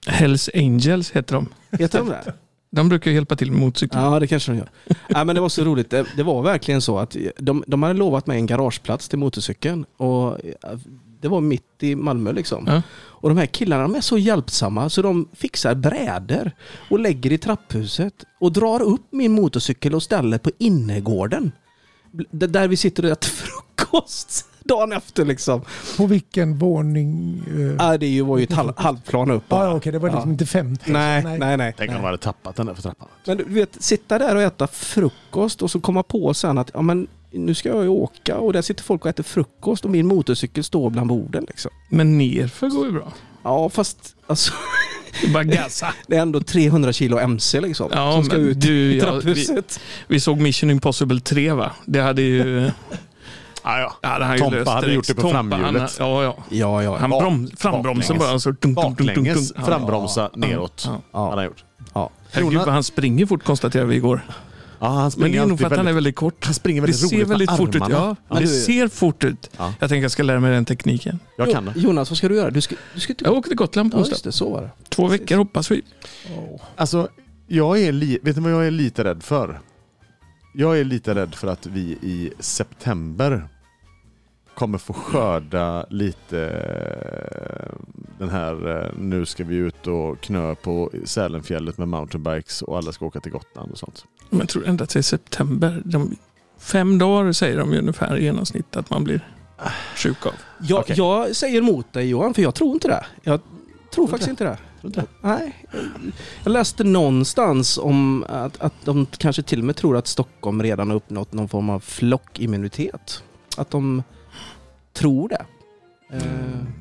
[SPEAKER 3] Hells Angels heter de.
[SPEAKER 2] Heter de det?
[SPEAKER 3] De brukar ju hjälpa till med motorcyklar.
[SPEAKER 2] Ja, det kanske de gör. ja, men det var så roligt. Det, det var verkligen så att de, de hade lovat mig en garageplats till motorcykeln. Och eh, det var mitt i Malmö liksom.
[SPEAKER 3] Ja.
[SPEAKER 2] Och de här killarna de är så hjälpsamma så de fixar brädor och lägger i trapphuset och drar upp min motorcykel och ställer på innergården. D- där vi sitter och äter frukost [laughs] dagen efter liksom.
[SPEAKER 4] På vilken våning? eh?
[SPEAKER 2] Ja, det var ju ett halv, halvplan upp.
[SPEAKER 4] ah, ja, okej, det var liksom
[SPEAKER 2] Ah. Ja.
[SPEAKER 4] inte 50.
[SPEAKER 2] Nej, nej, nej.
[SPEAKER 1] Tänk om de hade tappat den där för trappan.
[SPEAKER 2] Men du vet, sitta där och äta frukost och så komma på sen att ja, men nu ska jag ju åka och där sitter folk och äter frukost och min motorcykel står bland borden. Liksom.
[SPEAKER 3] Men nerför går ju bra.
[SPEAKER 2] Ja, fast alltså, [laughs]
[SPEAKER 3] Det är bara gasa.
[SPEAKER 2] det är ändå 300 kilo MC liksom,
[SPEAKER 3] Ja,
[SPEAKER 2] som ska
[SPEAKER 3] men
[SPEAKER 2] ut
[SPEAKER 3] du,
[SPEAKER 2] i
[SPEAKER 3] ja,
[SPEAKER 2] trapphuset.
[SPEAKER 3] Vi såg Mission Impossible 3 va? Det hade ju...
[SPEAKER 1] Ah, ja.
[SPEAKER 3] Ja, det hade ju
[SPEAKER 1] Tompa
[SPEAKER 3] löst
[SPEAKER 1] hade
[SPEAKER 3] direkt.
[SPEAKER 1] gjort det på
[SPEAKER 3] Tompa,
[SPEAKER 1] framhjulet.
[SPEAKER 3] Han, ja, ja.
[SPEAKER 2] Ja, ja.
[SPEAKER 3] Han
[SPEAKER 1] Bak-
[SPEAKER 3] broms, frambromsen
[SPEAKER 1] baklänges.
[SPEAKER 3] bara. Så, dunk, dunk, dunk, dunk,
[SPEAKER 1] Baklänges,
[SPEAKER 3] dunk. Ja.
[SPEAKER 1] frambromsa neråt.
[SPEAKER 3] Ja.
[SPEAKER 2] Ja.
[SPEAKER 1] Han har gjort.
[SPEAKER 2] ja.
[SPEAKER 3] Herregud
[SPEAKER 1] Jonas-
[SPEAKER 3] vad han springer fort konstaterade vi igår.
[SPEAKER 1] Ja, han
[SPEAKER 3] Men det
[SPEAKER 1] springer
[SPEAKER 3] är nog för
[SPEAKER 1] alltid
[SPEAKER 3] att han är
[SPEAKER 1] väldigt...
[SPEAKER 3] väldigt kort.
[SPEAKER 1] Han springer
[SPEAKER 3] Det
[SPEAKER 1] väldigt
[SPEAKER 3] ser
[SPEAKER 1] roligt med
[SPEAKER 3] väldigt fort ut. Ja,
[SPEAKER 1] armarna.
[SPEAKER 3] det ser fort ut.
[SPEAKER 1] Ja.
[SPEAKER 3] Jag tänker jag ska lära mig den tekniken.
[SPEAKER 1] Jag kan det.
[SPEAKER 2] Jonas, vad ska du göra? Du ska, du ska inte...
[SPEAKER 3] Jag åker till Gotland på
[SPEAKER 2] ja,
[SPEAKER 3] onsdag.
[SPEAKER 2] just det, så var det.
[SPEAKER 3] Två veckor hoppas vi.
[SPEAKER 1] Alltså, jag är li... Vet ni vad jag är lite rädd för? Jag är lite rädd för att vi i september kommer få skörda lite eh, den här eh, nu ska vi ut och knö på Sälenfjället med mountainbikes och alla ska åka till Gotland och sånt.
[SPEAKER 3] Men jag tror ända till september. De, fem dagar säger de ju ungefär i genomsnitt att man blir sjuk av.
[SPEAKER 2] Jag,
[SPEAKER 1] Okej.
[SPEAKER 2] jag säger emot dig Johan, för jag tror inte det. Jag tror faktiskt inte det.
[SPEAKER 1] Tror
[SPEAKER 2] Nej. Jag läste någonstans om att, att de kanske till och med tror att Stockholm redan har uppnått någon form av flockimmunitet. Att de tror det. Eh,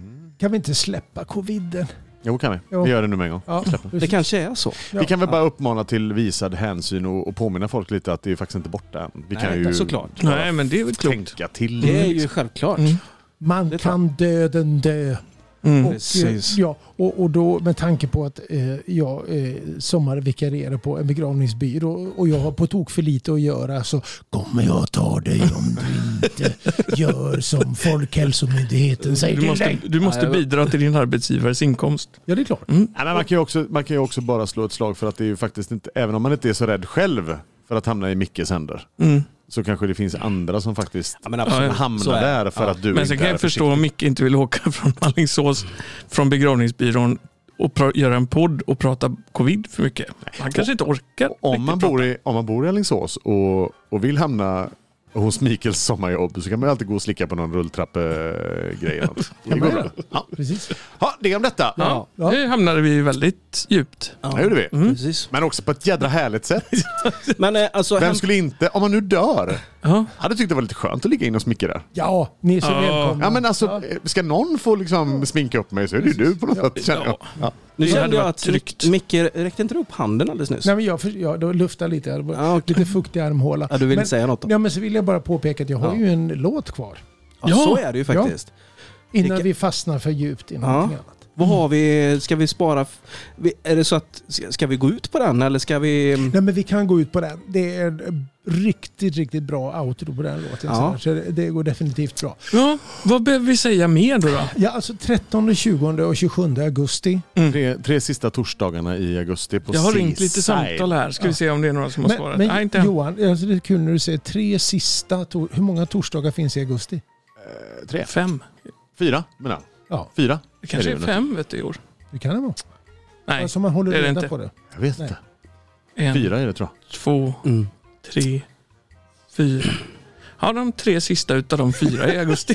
[SPEAKER 1] Mm.
[SPEAKER 4] Kan vi inte släppa coviden?
[SPEAKER 1] Jo, kan vi.
[SPEAKER 4] Jo.
[SPEAKER 1] Vi gör det nu med en gång.
[SPEAKER 4] Ja,
[SPEAKER 2] Det kanske är så.
[SPEAKER 1] Vi kan väl bara uppmana till visad hänsyn och, och påminna folk lite att det är faktiskt inte borta än. Vi kan
[SPEAKER 2] Nej,
[SPEAKER 1] ju
[SPEAKER 2] såklart.
[SPEAKER 1] bara
[SPEAKER 3] Nej, men det är väl klokt.
[SPEAKER 1] tänka till.
[SPEAKER 2] Det är ju självklart.
[SPEAKER 3] Mm.
[SPEAKER 4] Man
[SPEAKER 2] Det är
[SPEAKER 4] kan döden dö.
[SPEAKER 2] Mm.
[SPEAKER 4] Och,
[SPEAKER 2] Precis.
[SPEAKER 4] eh, Ja, och, och då med tanke på att eh, jag eh, sommarvikarierar på en begravningsbyrå och jag har på tok för lite att göra så kommer jag ta dig om du
[SPEAKER 2] [laughs]
[SPEAKER 4] inte gör som Folkhälsomyndigheten säger
[SPEAKER 3] Du
[SPEAKER 4] till
[SPEAKER 3] måste,
[SPEAKER 4] dig.
[SPEAKER 3] du måste
[SPEAKER 2] Nej, det var-
[SPEAKER 3] bidra till din arbetsgivares inkomst.
[SPEAKER 4] Ja, det är klart.
[SPEAKER 1] Nej, men man, kan ju också, man kan ju också bara slå ett slag för att det är ju faktiskt inte, även om man inte är så rädd själv för att hamna i Mickes händer,
[SPEAKER 3] Mm.
[SPEAKER 1] så kanske det finns andra som faktiskt
[SPEAKER 2] Ja, men
[SPEAKER 3] Ja,
[SPEAKER 2] absolut.
[SPEAKER 3] ja.
[SPEAKER 2] Så
[SPEAKER 1] hamnar
[SPEAKER 2] är det.
[SPEAKER 1] där för
[SPEAKER 2] Ja.
[SPEAKER 1] att du
[SPEAKER 3] Men
[SPEAKER 1] inte
[SPEAKER 3] sen kan
[SPEAKER 1] är
[SPEAKER 3] jag förstå om Micke inte vill åka [laughs] från Alingsås från begravningsbyrån och pra- göra en podd och prata covid för mycket. Han kanske inte orkar.
[SPEAKER 1] Om
[SPEAKER 3] riktigt
[SPEAKER 1] man,
[SPEAKER 3] prata.
[SPEAKER 1] bor i, om man bor i Alingsås och, och vill hamna hos Mikels sommarjobb så kan man ju alltid gå och slicka på någon rulltrappegrej. eller något. Det går bra. Ja.
[SPEAKER 4] Precis.
[SPEAKER 1] Ja, det om detta.
[SPEAKER 3] Ja,
[SPEAKER 4] Ja.
[SPEAKER 3] nu hamnade vi väldigt djupt.
[SPEAKER 1] Det gjorde vi.
[SPEAKER 2] Precis.
[SPEAKER 1] Men också på ett jädra härligt sätt.
[SPEAKER 2] Mm. Men eh, alltså,
[SPEAKER 1] Vem
[SPEAKER 2] hem,
[SPEAKER 1] skulle inte, om man nu dör,
[SPEAKER 3] Ja.
[SPEAKER 1] hade tyckt det var lite skönt att ligga in och smicka där.
[SPEAKER 4] Ja, ni är så
[SPEAKER 3] Ja.
[SPEAKER 4] välkomna.
[SPEAKER 1] Ja men alltså, ska någon få liksom sminka upp mig så är det ju du på något sätt känner jag. Ja.
[SPEAKER 2] nu
[SPEAKER 3] Det hade
[SPEAKER 2] kände jag
[SPEAKER 3] varit
[SPEAKER 2] att
[SPEAKER 3] tryggt.
[SPEAKER 2] Micke, räckte inte du upp handen alldeles nyss?
[SPEAKER 4] Nej, men jag, för, jag då luftar lite. Jag
[SPEAKER 2] Ja,
[SPEAKER 4] har
[SPEAKER 2] okej.
[SPEAKER 4] lite fuktig armhåla.
[SPEAKER 2] Ja, du vill
[SPEAKER 4] men,
[SPEAKER 2] inte säga något då?
[SPEAKER 4] Ja, men så vill jag bara påpeka att jag har
[SPEAKER 2] Ja.
[SPEAKER 4] ju en låt kvar.
[SPEAKER 2] Ja,
[SPEAKER 3] Ja.
[SPEAKER 2] så är det ju faktiskt.
[SPEAKER 4] Innan
[SPEAKER 2] Vilka-
[SPEAKER 4] vi fastnar för djupt i
[SPEAKER 2] Ja.
[SPEAKER 4] någonting annat.
[SPEAKER 2] Vad
[SPEAKER 3] Mm.
[SPEAKER 2] har vi, ska vi spara, f- vi- är det så att, ska- ska vi gå ut på den eller ska vi?
[SPEAKER 4] Nej, men vi kan gå ut på den. Det är en riktigt, riktigt bra outro på den låten.
[SPEAKER 2] Ja.
[SPEAKER 4] Så, här, så det, det går definitivt bra.
[SPEAKER 3] Ja, vad behöver vi säga mer då? då?
[SPEAKER 4] Ja, alltså 13, 20 och 27 augusti.
[SPEAKER 1] Tre, tre sista torsdagarna i augusti på
[SPEAKER 3] Jag har ringt
[SPEAKER 1] Seaside.
[SPEAKER 3] lite samtal här. Ska vi se om det är några som har
[SPEAKER 4] Men,
[SPEAKER 3] svarat.
[SPEAKER 4] men
[SPEAKER 3] Nej, inte än.
[SPEAKER 4] Johan, alltså det är kul när du säger tre sista. Tor- Hur många torsdagar finns i augusti?
[SPEAKER 1] Eh, Tre?
[SPEAKER 3] Fem.
[SPEAKER 1] Fyra menar jag.
[SPEAKER 4] Ja,
[SPEAKER 1] Fyra?
[SPEAKER 3] Det kanske
[SPEAKER 1] Är
[SPEAKER 3] är
[SPEAKER 1] det
[SPEAKER 3] fem vet du, i år.
[SPEAKER 4] det kan det vara.
[SPEAKER 3] Nej,
[SPEAKER 4] Alltså man håller
[SPEAKER 3] det är det
[SPEAKER 4] reda
[SPEAKER 3] inte.
[SPEAKER 4] på det.
[SPEAKER 1] Jag vet
[SPEAKER 4] Nej.
[SPEAKER 1] inte.
[SPEAKER 3] en,
[SPEAKER 1] Fyra är det tror jag.
[SPEAKER 3] två,
[SPEAKER 2] Mm.
[SPEAKER 3] tre, fyra. Har de tre sista utav de fyra i augusti?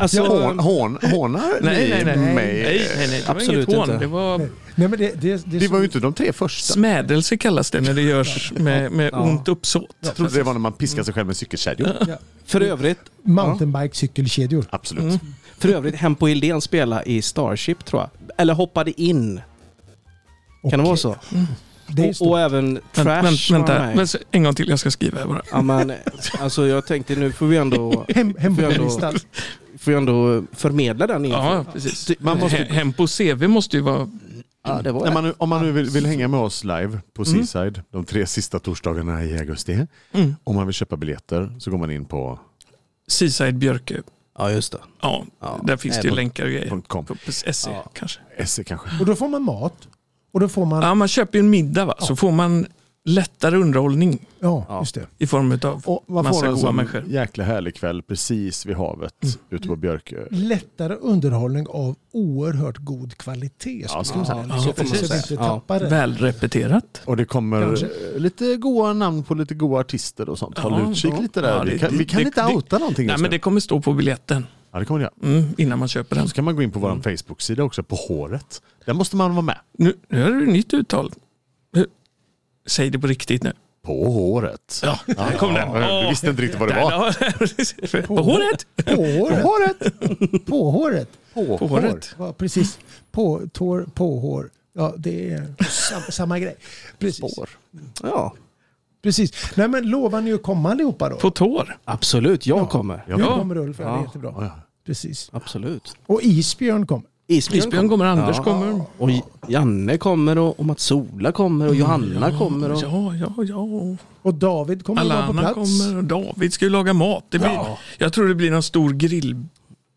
[SPEAKER 2] Alltså,
[SPEAKER 1] Hån, hån, hånar
[SPEAKER 3] Nej,
[SPEAKER 1] ni
[SPEAKER 3] nej, nej.
[SPEAKER 1] mig?
[SPEAKER 3] Nej, nej, nej. Det var
[SPEAKER 2] Absolut
[SPEAKER 3] inget hån.
[SPEAKER 2] inte.
[SPEAKER 3] Det var
[SPEAKER 4] Nej, men det, det, det,
[SPEAKER 1] Det var ju inte de tre första.
[SPEAKER 3] smädelse kallas det när det görs med, med
[SPEAKER 2] Ja.
[SPEAKER 3] ont uppsåt.
[SPEAKER 1] Jag trodde det var när man piskar sig själv med cykelkedjor.
[SPEAKER 2] för övrigt,
[SPEAKER 4] Mountainbike-cykelkedjor.
[SPEAKER 1] Absolut.
[SPEAKER 2] för övrigt, Hem på Hildén spela i Starship tror jag. Eller hoppade in, kan det vara så?
[SPEAKER 4] Det är
[SPEAKER 2] och,
[SPEAKER 4] stort.
[SPEAKER 2] och även Trash
[SPEAKER 3] Vänt, vänt,
[SPEAKER 2] var
[SPEAKER 3] vänta,
[SPEAKER 2] med.
[SPEAKER 3] Men så- en gång till. Jag ska skriva här bara.
[SPEAKER 2] Ja, men, alltså jag tänkte nu får vi ändå,
[SPEAKER 4] Hem, hem
[SPEAKER 2] Får jag då-
[SPEAKER 4] listan.
[SPEAKER 2] får vi ändå förmedla den info.
[SPEAKER 3] Ja, precis.
[SPEAKER 2] Man
[SPEAKER 3] Man
[SPEAKER 2] måste-
[SPEAKER 3] Hem på CV måste ju vara...
[SPEAKER 2] Ja, det var
[SPEAKER 1] När
[SPEAKER 2] det.
[SPEAKER 1] man, nu- om man nu vill, vill hänga med oss live på Seaside de tre sista torsdagarna i augusti.
[SPEAKER 3] Mm.
[SPEAKER 1] Om man vill köpa biljetter så går man in på
[SPEAKER 3] Seaside Björke.
[SPEAKER 2] Ja, just det.
[SPEAKER 3] Ja,
[SPEAKER 2] Ja.
[SPEAKER 3] där finns
[SPEAKER 2] Nej,
[SPEAKER 3] det ju
[SPEAKER 2] men-
[SPEAKER 3] länkar och grejer.
[SPEAKER 1] .com.
[SPEAKER 3] SE
[SPEAKER 2] Ja.
[SPEAKER 3] kanske.
[SPEAKER 1] SE kanske.
[SPEAKER 4] [laughs] Och då får man mat. Och då får man...
[SPEAKER 3] Ja, man köper ju en middag va? så får man lättare underhållning
[SPEAKER 4] Ja,
[SPEAKER 2] Ja.
[SPEAKER 4] just det.
[SPEAKER 3] i form av
[SPEAKER 1] Och man
[SPEAKER 3] massa
[SPEAKER 1] får en
[SPEAKER 3] goda
[SPEAKER 1] sån
[SPEAKER 3] människor.
[SPEAKER 1] jäkla härlig kväll precis vid havet ute på Björkö.
[SPEAKER 4] Lättare underhållning av oerhört god kvalitet.
[SPEAKER 1] Ja,
[SPEAKER 4] skulle jag
[SPEAKER 1] så-
[SPEAKER 4] säga.
[SPEAKER 2] ja,
[SPEAKER 4] så
[SPEAKER 2] precis.
[SPEAKER 4] att vi inte
[SPEAKER 2] Ja.
[SPEAKER 4] tappar det.
[SPEAKER 3] välrepeterat.
[SPEAKER 1] Och det kommer
[SPEAKER 4] Kanske.
[SPEAKER 1] eh, lite goa namn på lite goa artister och sånt.
[SPEAKER 3] Ja,
[SPEAKER 1] Håll utkik
[SPEAKER 3] ja.
[SPEAKER 1] lite där.
[SPEAKER 3] Ja, det-
[SPEAKER 1] vi kan, vi kan
[SPEAKER 3] det-
[SPEAKER 1] inte
[SPEAKER 3] det-
[SPEAKER 1] outa någonting alltså.
[SPEAKER 3] Nej,
[SPEAKER 1] just
[SPEAKER 3] men
[SPEAKER 1] nu.
[SPEAKER 3] det kommer stå på biljetten
[SPEAKER 1] Ja, det kommer det göra.
[SPEAKER 3] mm, innan man köper den.
[SPEAKER 1] Så kan man gå in på vår Facebook-sida också, på håret. Där måste man vara med.
[SPEAKER 3] Nu, nu är det ett nytt uttal. Nu- Säg det på riktigt nu.
[SPEAKER 1] På håret.
[SPEAKER 3] [laughs] Ja, där kom den.
[SPEAKER 1] ja, Du visste inte riktigt vad det var.
[SPEAKER 3] var. [laughs] På håret.
[SPEAKER 4] På håret.
[SPEAKER 1] håret!
[SPEAKER 4] På håret.
[SPEAKER 1] På,
[SPEAKER 3] På håret.
[SPEAKER 4] Ja, precis. På tår, på hår. Ja, det är sam, samma grej. Precis.
[SPEAKER 1] Spår.
[SPEAKER 2] Ja,
[SPEAKER 4] precis. Nej, men lovar ni att komma allihopa då?
[SPEAKER 3] På tår.
[SPEAKER 2] absolut. Jag kommer.
[SPEAKER 1] Ja.
[SPEAKER 4] Nu kommer Ulf, ja. det är
[SPEAKER 2] Ja.
[SPEAKER 1] Ja,
[SPEAKER 4] jättebra.
[SPEAKER 1] ja.
[SPEAKER 4] Precis.
[SPEAKER 2] Absolut.
[SPEAKER 4] Och Isbjörn kommer.
[SPEAKER 2] Isbjörn,
[SPEAKER 3] Isbjörn kommer, Anders kommer.
[SPEAKER 2] Och J- Janne kommer och, och Matsola kommer och Johanna kommer. Och,
[SPEAKER 3] Ja, ja, ja.
[SPEAKER 4] Och David kommer att vara på
[SPEAKER 3] Alana
[SPEAKER 4] plats.
[SPEAKER 3] kommer och David ska ju laga mat. Det blir, Jag tror det blir någon stor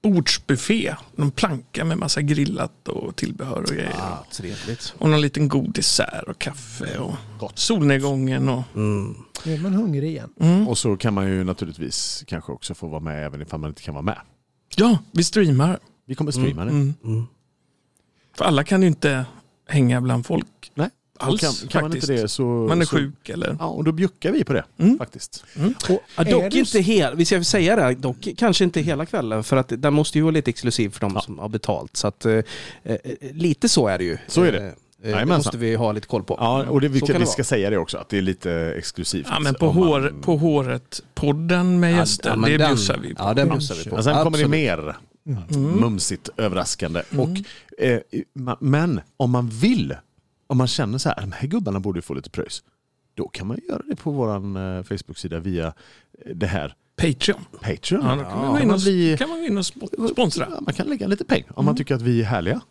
[SPEAKER 3] grillbordsbuffé. Någon planka med massa grillat och tillbehör och grejer.
[SPEAKER 2] Ja, Ah, trevligt.
[SPEAKER 3] Och någon liten god dessert och kaffe och solnedgången. Och,
[SPEAKER 4] Nu är man hungrig igen.
[SPEAKER 3] Mm.
[SPEAKER 1] Och så kan man ju naturligtvis kanske också få vara med även ifall man inte kan vara med.
[SPEAKER 3] Ja, vi streamar.
[SPEAKER 1] Vi kommer streama det.
[SPEAKER 3] Mm. För alla kan ju inte hänga bland folk.
[SPEAKER 1] Nej.
[SPEAKER 3] Alls,
[SPEAKER 1] kan, kan man inte
[SPEAKER 3] faktiskt.
[SPEAKER 1] det så...
[SPEAKER 3] Man är
[SPEAKER 1] Mm. så,
[SPEAKER 3] sjuk eller...
[SPEAKER 1] Ja, och då bjuckar vi på det
[SPEAKER 3] Mm.
[SPEAKER 1] faktiskt.
[SPEAKER 2] Ja,
[SPEAKER 4] Är
[SPEAKER 2] dock
[SPEAKER 4] du-
[SPEAKER 2] inte hela, vi ska väl säga det, här, dock kanske inte hela kvällen för att den måste ju vara lite exklusiv för de som har betalt. Så att eh, eh, lite så är det ju.
[SPEAKER 1] Så är det.
[SPEAKER 2] Eh, eh, Det
[SPEAKER 1] Jajamensan.
[SPEAKER 2] måste vi ha lite koll på.
[SPEAKER 1] Ja, och det, vi,
[SPEAKER 2] Så
[SPEAKER 1] kan,
[SPEAKER 2] kan
[SPEAKER 1] vi
[SPEAKER 2] det vara.
[SPEAKER 1] ska säga det också, att det är lite exklusivt.
[SPEAKER 3] Ja, men på,
[SPEAKER 1] Om man-
[SPEAKER 3] hår, på håret-podden med gäster,
[SPEAKER 2] men
[SPEAKER 3] det
[SPEAKER 2] den-
[SPEAKER 3] bjussar vi på.
[SPEAKER 2] Ja, den bjussar vi på.
[SPEAKER 1] Ja, sen kommer det
[SPEAKER 2] Absolut.
[SPEAKER 1] mer
[SPEAKER 3] Mm.
[SPEAKER 1] mumsigt, överraskande. Och, eh, ma- men om man vill, om man känner så här, de här gubbarna borde ju få lite pröjs. Då kan man göra det på vår eh, Facebook-sida via eh, det här
[SPEAKER 3] Patreon.
[SPEAKER 1] Patreon.
[SPEAKER 3] Ja, då kan, man gå
[SPEAKER 1] Kan
[SPEAKER 3] in
[SPEAKER 1] man
[SPEAKER 3] och,
[SPEAKER 1] bli-
[SPEAKER 3] kan man gå in och spo- sponsra. Mm.
[SPEAKER 1] Ja, man kan lägga lite pengar om man tycker att vi är härliga.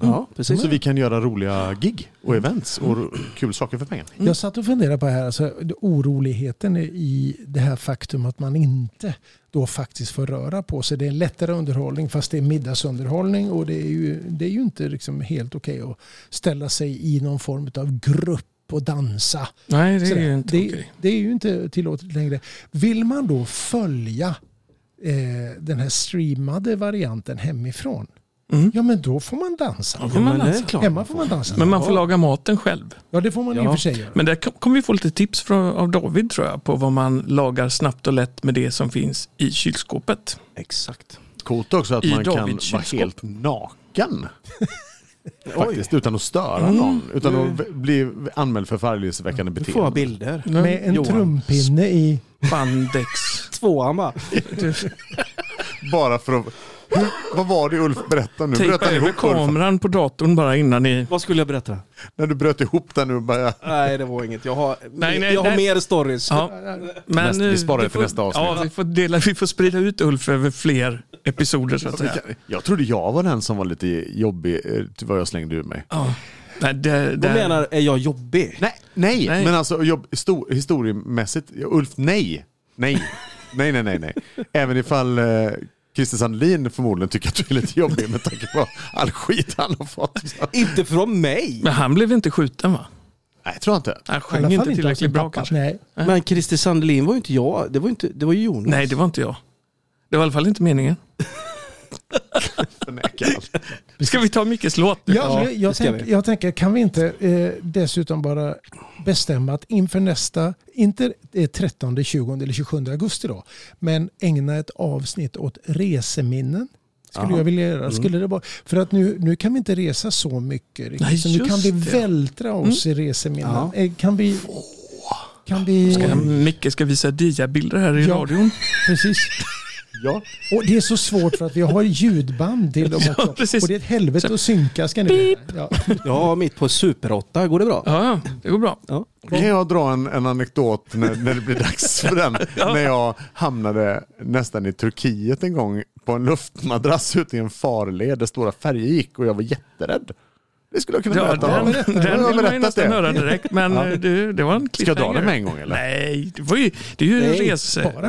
[SPEAKER 2] Ja, precis.
[SPEAKER 1] Så vi kan göra roliga gig och events och ro- kul saker för pengar.
[SPEAKER 3] Mm.
[SPEAKER 4] Jag satt och funderade på det här, alltså, oroligheten i det här faktum att man inte då faktiskt får röra på sig. Det är en lättare underhållning fast det är middagsunderhållning och det är ju, det är ju inte liksom helt okej att ställa sig i någon form av grupp och dansa.
[SPEAKER 3] Nej, det är ju
[SPEAKER 4] Sådär.
[SPEAKER 3] inte
[SPEAKER 4] det,
[SPEAKER 3] okej.
[SPEAKER 4] det är ju inte tillåtet längre. Vill man då följa eh, den här streamade varianten hemifrån,
[SPEAKER 3] Mm.
[SPEAKER 4] ja men då får man dansa.
[SPEAKER 3] Ja,
[SPEAKER 2] Ja,
[SPEAKER 3] får man
[SPEAKER 2] men det är
[SPEAKER 3] dansa.
[SPEAKER 2] klart.
[SPEAKER 4] Hemma får man dansa.
[SPEAKER 3] Men man får laga maten själv.
[SPEAKER 4] Ja, det får man i och
[SPEAKER 2] Ja.
[SPEAKER 4] för sig göra.
[SPEAKER 3] Men där kom- kommer vi få lite tips från, av David tror jag på vad man lagar snabbt och lätt med det som finns i kylskåpet.
[SPEAKER 2] Exakt.
[SPEAKER 1] Coolt också att
[SPEAKER 3] I
[SPEAKER 1] man kan
[SPEAKER 3] Davids
[SPEAKER 1] vara
[SPEAKER 3] kylskåp.
[SPEAKER 1] helt
[SPEAKER 3] [laughs]
[SPEAKER 1] naken. Faktiskt, utan att störa
[SPEAKER 3] Mm.
[SPEAKER 1] någon. Utan att v- bli anmäld för förargelseväckande
[SPEAKER 2] Du får ha
[SPEAKER 1] beteende.
[SPEAKER 2] bilder.
[SPEAKER 3] Mm.
[SPEAKER 4] Med en
[SPEAKER 2] Johan.
[SPEAKER 4] trumpinne i...
[SPEAKER 3] Bandex.
[SPEAKER 2] Tvåan va?
[SPEAKER 1] Bara för att... Hur, vad var det Ulf berättade nu? Bröt
[SPEAKER 3] Tejpa
[SPEAKER 1] han
[SPEAKER 3] över
[SPEAKER 1] ihop Ulf?
[SPEAKER 3] kameran på datorn bara innan ni...
[SPEAKER 2] Vad skulle jag berätta?
[SPEAKER 1] När du bröt ihop den nu bara...
[SPEAKER 2] Nej, det var inget. Jag har,
[SPEAKER 3] Nej, nej,
[SPEAKER 2] jag har
[SPEAKER 3] nej.
[SPEAKER 2] mer stories.
[SPEAKER 3] Ja, men,
[SPEAKER 1] Nästa- vi sparar
[SPEAKER 3] eh,
[SPEAKER 1] det för
[SPEAKER 3] får-
[SPEAKER 1] nästa avsnitt.
[SPEAKER 3] Ja, vi får, dela, vi får sprida ut Ulf över fler episoder så att säga.
[SPEAKER 1] Jag trodde jag var den som var lite jobbig, eh, till vad jag slängde ur mig.
[SPEAKER 3] Ja. Nej, det,
[SPEAKER 2] Du
[SPEAKER 3] det,
[SPEAKER 2] menar, är jag jobbig?
[SPEAKER 1] Nej, nej.
[SPEAKER 3] Nej.
[SPEAKER 1] men alltså jobb, histor, historiemässigt, Ulf, nej. Nej, nej, nej, nej. nej. Även ifall eh, Christer Sandlin förmodligen tycker att du är lite jobbig med tanke på all skit han har fått.
[SPEAKER 2] Inte från mig!
[SPEAKER 3] Men han blev inte skjuten va?
[SPEAKER 1] Nej, tror jag inte.
[SPEAKER 3] Han
[SPEAKER 4] I alla
[SPEAKER 3] sjöng
[SPEAKER 4] fall
[SPEAKER 3] inte
[SPEAKER 4] av sin
[SPEAKER 3] tillräckligt bra
[SPEAKER 4] pappa.
[SPEAKER 3] kanske.
[SPEAKER 4] Nej.
[SPEAKER 2] Men Christer Sandelin var ju inte jag. Det var ju, inte, det var ju Jonas.
[SPEAKER 3] Nej, det var inte jag. Det var i alla fall inte meningen.
[SPEAKER 1] Förnekar allt.
[SPEAKER 3] Ska vi ta Mickes låt nu?
[SPEAKER 4] Ja,
[SPEAKER 2] Ja,
[SPEAKER 4] jag,
[SPEAKER 2] det
[SPEAKER 4] jag,
[SPEAKER 2] ska
[SPEAKER 4] tänker-
[SPEAKER 2] vi.
[SPEAKER 4] jag tänker, kan vi inte eh, dessutom bara bestämma att inför nästa, inte eh, 13, 20 eller 27 augusti då, men ägna ett avsnitt åt reseminnen. Skulle
[SPEAKER 2] Aha.
[SPEAKER 4] jag vilja
[SPEAKER 3] Mm.
[SPEAKER 4] göra. Skulle det vara, för att nu, nu kan vi inte resa så mycket. riktigt,
[SPEAKER 3] Nej,
[SPEAKER 4] så nu kan vi
[SPEAKER 3] just det. Mm.
[SPEAKER 4] vältra oss i reseminnen.
[SPEAKER 2] Ja.
[SPEAKER 4] Eh, Kan vi... Kan vi...
[SPEAKER 3] Ska, Micke ska visa diabilder här i
[SPEAKER 4] Ja.
[SPEAKER 3] radion.
[SPEAKER 4] Precis.
[SPEAKER 1] Ja.
[SPEAKER 4] Och det är så svårt för att vi har ljudband till dem
[SPEAKER 3] [laughs] Ja,
[SPEAKER 4] också.
[SPEAKER 3] precis.
[SPEAKER 4] Och det är ett helvete att synka ska ni veta. Ja.
[SPEAKER 2] Ja, mitt på Super 8. Går det bra?
[SPEAKER 3] Ja, ja, det går bra.
[SPEAKER 2] Ja.
[SPEAKER 1] Kan jag dra en, en anekdot när, när det blir dags för den? När jag hamnade nästan i Turkiet en gång på en luftmadrass ute i en farled där stora färger gick och jag var jätterädd. Det skulle jag kunna
[SPEAKER 3] Ja,
[SPEAKER 1] berätta.
[SPEAKER 3] den,
[SPEAKER 1] Ja,
[SPEAKER 3] den
[SPEAKER 1] jag har
[SPEAKER 3] vill man ju
[SPEAKER 1] berättat
[SPEAKER 3] nästan
[SPEAKER 1] det. [laughs]
[SPEAKER 3] höra direkt, men eh, det, det var en
[SPEAKER 1] Ska jag
[SPEAKER 3] cliffhanger.
[SPEAKER 1] dra den med en gång eller?
[SPEAKER 3] Nej, det, var ju, det är ju en
[SPEAKER 2] Nej,
[SPEAKER 4] bara
[SPEAKER 3] reseepisod.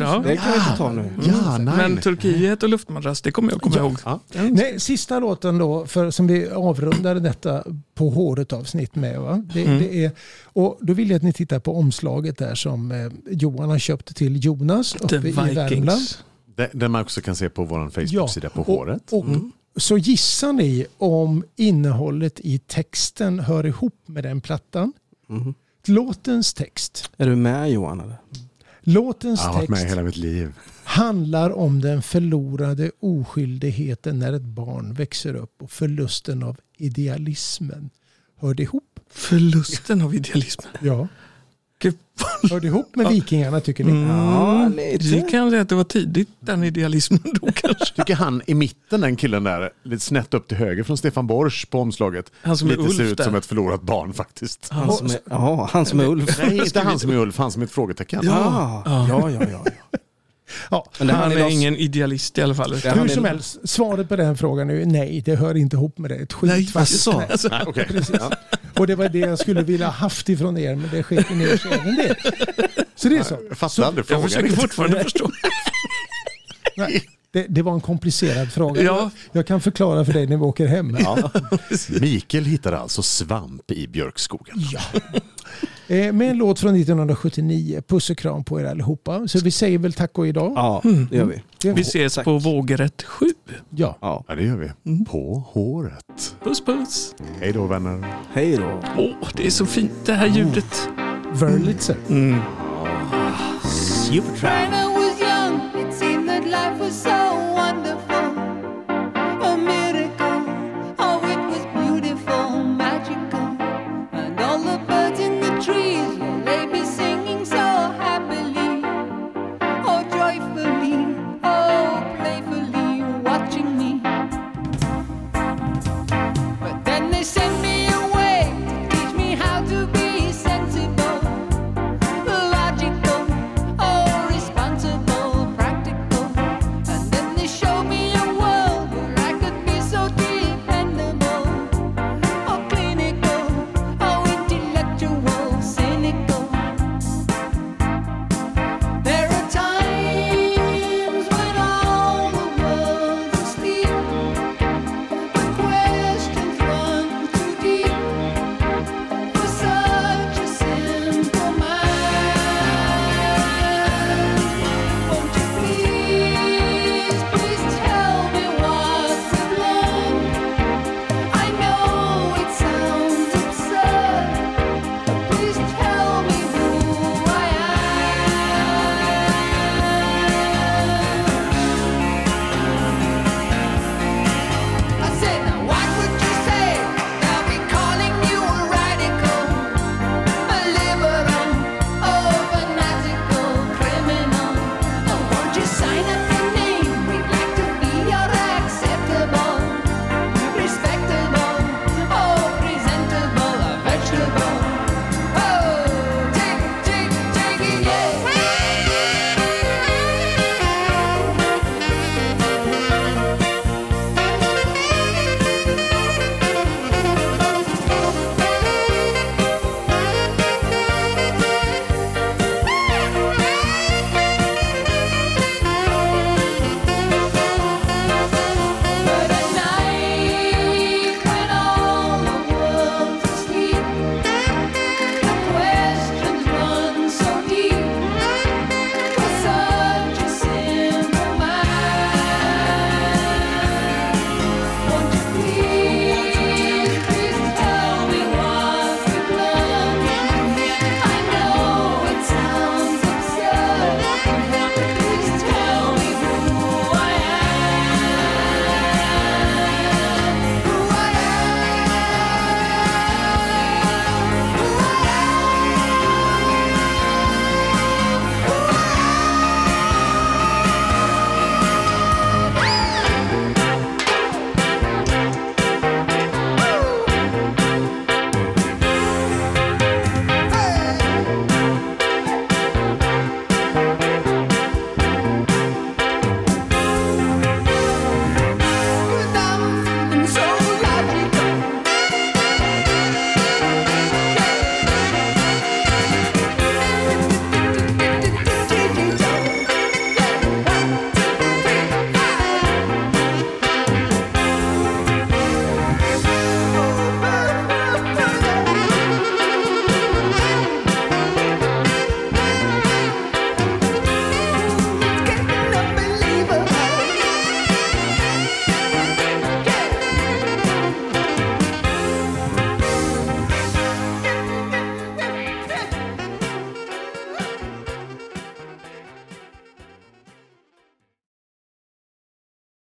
[SPEAKER 2] Ja,
[SPEAKER 3] Ja.
[SPEAKER 2] det kan vi inte ta nu.
[SPEAKER 1] Ja, nej.
[SPEAKER 3] Mm. Men Turkiet och luftmadrass, det kommer jag komma ihåg.
[SPEAKER 1] Ja.
[SPEAKER 4] Nej, sista låten då, för, som vi avrundade detta på håret avsnitt med. Va? Det,
[SPEAKER 3] Mm.
[SPEAKER 4] det är, och då vill jag att ni tittar på omslaget där som eh, Johan har köpt till Jonas
[SPEAKER 3] The
[SPEAKER 4] uppe i Värmland.
[SPEAKER 3] Vikings.
[SPEAKER 1] Den- Den man också kan se på vår Facebook-sida på håret.
[SPEAKER 4] Och, och
[SPEAKER 3] Mm.
[SPEAKER 4] Så gissar ni om innehållet i texten hör ihop med den plattan.
[SPEAKER 3] Mm.
[SPEAKER 4] Låtens text,
[SPEAKER 2] Är du med Johan? Eller?
[SPEAKER 4] låtens
[SPEAKER 1] Jag har varit med
[SPEAKER 4] text
[SPEAKER 1] hela mitt liv.
[SPEAKER 4] handlar om den förlorade oskyldigheten när ett barn växer upp och förlusten av idealismen. Hör det ihop?
[SPEAKER 3] Förlusten av idealismen.
[SPEAKER 4] Ja.
[SPEAKER 3] Gud, vad-
[SPEAKER 4] Hör det ihop med vikingarna tycker ni?
[SPEAKER 3] Mm.
[SPEAKER 2] Ja,
[SPEAKER 3] Vi
[SPEAKER 2] lite.
[SPEAKER 3] kan säga att det var tidigt den idealismen
[SPEAKER 1] [laughs]
[SPEAKER 3] då kanske.
[SPEAKER 1] Tycker han i mitten, den killen där, lite snett upp till höger från Stefan Borsch på omslaget,
[SPEAKER 3] Han som är
[SPEAKER 1] lite ser
[SPEAKER 3] Ulf
[SPEAKER 1] ut
[SPEAKER 3] där.
[SPEAKER 1] som ett förlorat barn faktiskt.
[SPEAKER 2] Han som är, ja, han som är Ulf.
[SPEAKER 1] Nej, inte han som är Ulf, han som är ett frågetecken.
[SPEAKER 2] Ja, ja, ja. ja.
[SPEAKER 4] Ja.
[SPEAKER 2] Men det här
[SPEAKER 3] Han
[SPEAKER 2] är
[SPEAKER 3] är
[SPEAKER 2] oss-
[SPEAKER 3] ingen idealist i alla fall.
[SPEAKER 2] Ja.
[SPEAKER 4] Hur
[SPEAKER 2] han är-
[SPEAKER 4] som helst, svaret på den frågan är ju nej, det hör inte ihop med det. Ett skit
[SPEAKER 3] Nej, alltså,
[SPEAKER 4] faktiskt.
[SPEAKER 2] asså.
[SPEAKER 4] Nej.
[SPEAKER 1] Nej,
[SPEAKER 3] [laughs]
[SPEAKER 1] okej. Ja.
[SPEAKER 4] Och det var det jag skulle vilja haft ifrån er, men det skiter ni i så även det. Så det är så.
[SPEAKER 1] Jag fattar
[SPEAKER 4] så
[SPEAKER 1] aldrig
[SPEAKER 3] Jag
[SPEAKER 1] frågan.
[SPEAKER 3] försöker
[SPEAKER 1] riktigt.
[SPEAKER 3] fortfarande förstå.
[SPEAKER 4] nej, det, det var en komplicerad fråga.
[SPEAKER 3] Ja.
[SPEAKER 4] Jag kan förklara för dig när vi åker hem.
[SPEAKER 1] Ja. Mikael hittade alltså svamp i björkskogen.
[SPEAKER 4] Eh, med en låt från 1979. Puss och kram på er allihopa. Så vi säger väl tack och idag.
[SPEAKER 2] Ja, det gör vi.
[SPEAKER 4] Det var-
[SPEAKER 3] Vi ses på vågrätt 7.
[SPEAKER 4] ja.
[SPEAKER 2] Ja.
[SPEAKER 1] Ja, det gör
[SPEAKER 3] Mm.
[SPEAKER 1] vi. På håret.
[SPEAKER 3] Puss puss.
[SPEAKER 1] Hej då vänner.
[SPEAKER 2] Hej då.
[SPEAKER 3] Åh, det är så
[SPEAKER 1] Mm.
[SPEAKER 3] fint det här ljudet.
[SPEAKER 4] Wurlitzer.
[SPEAKER 5] Trying to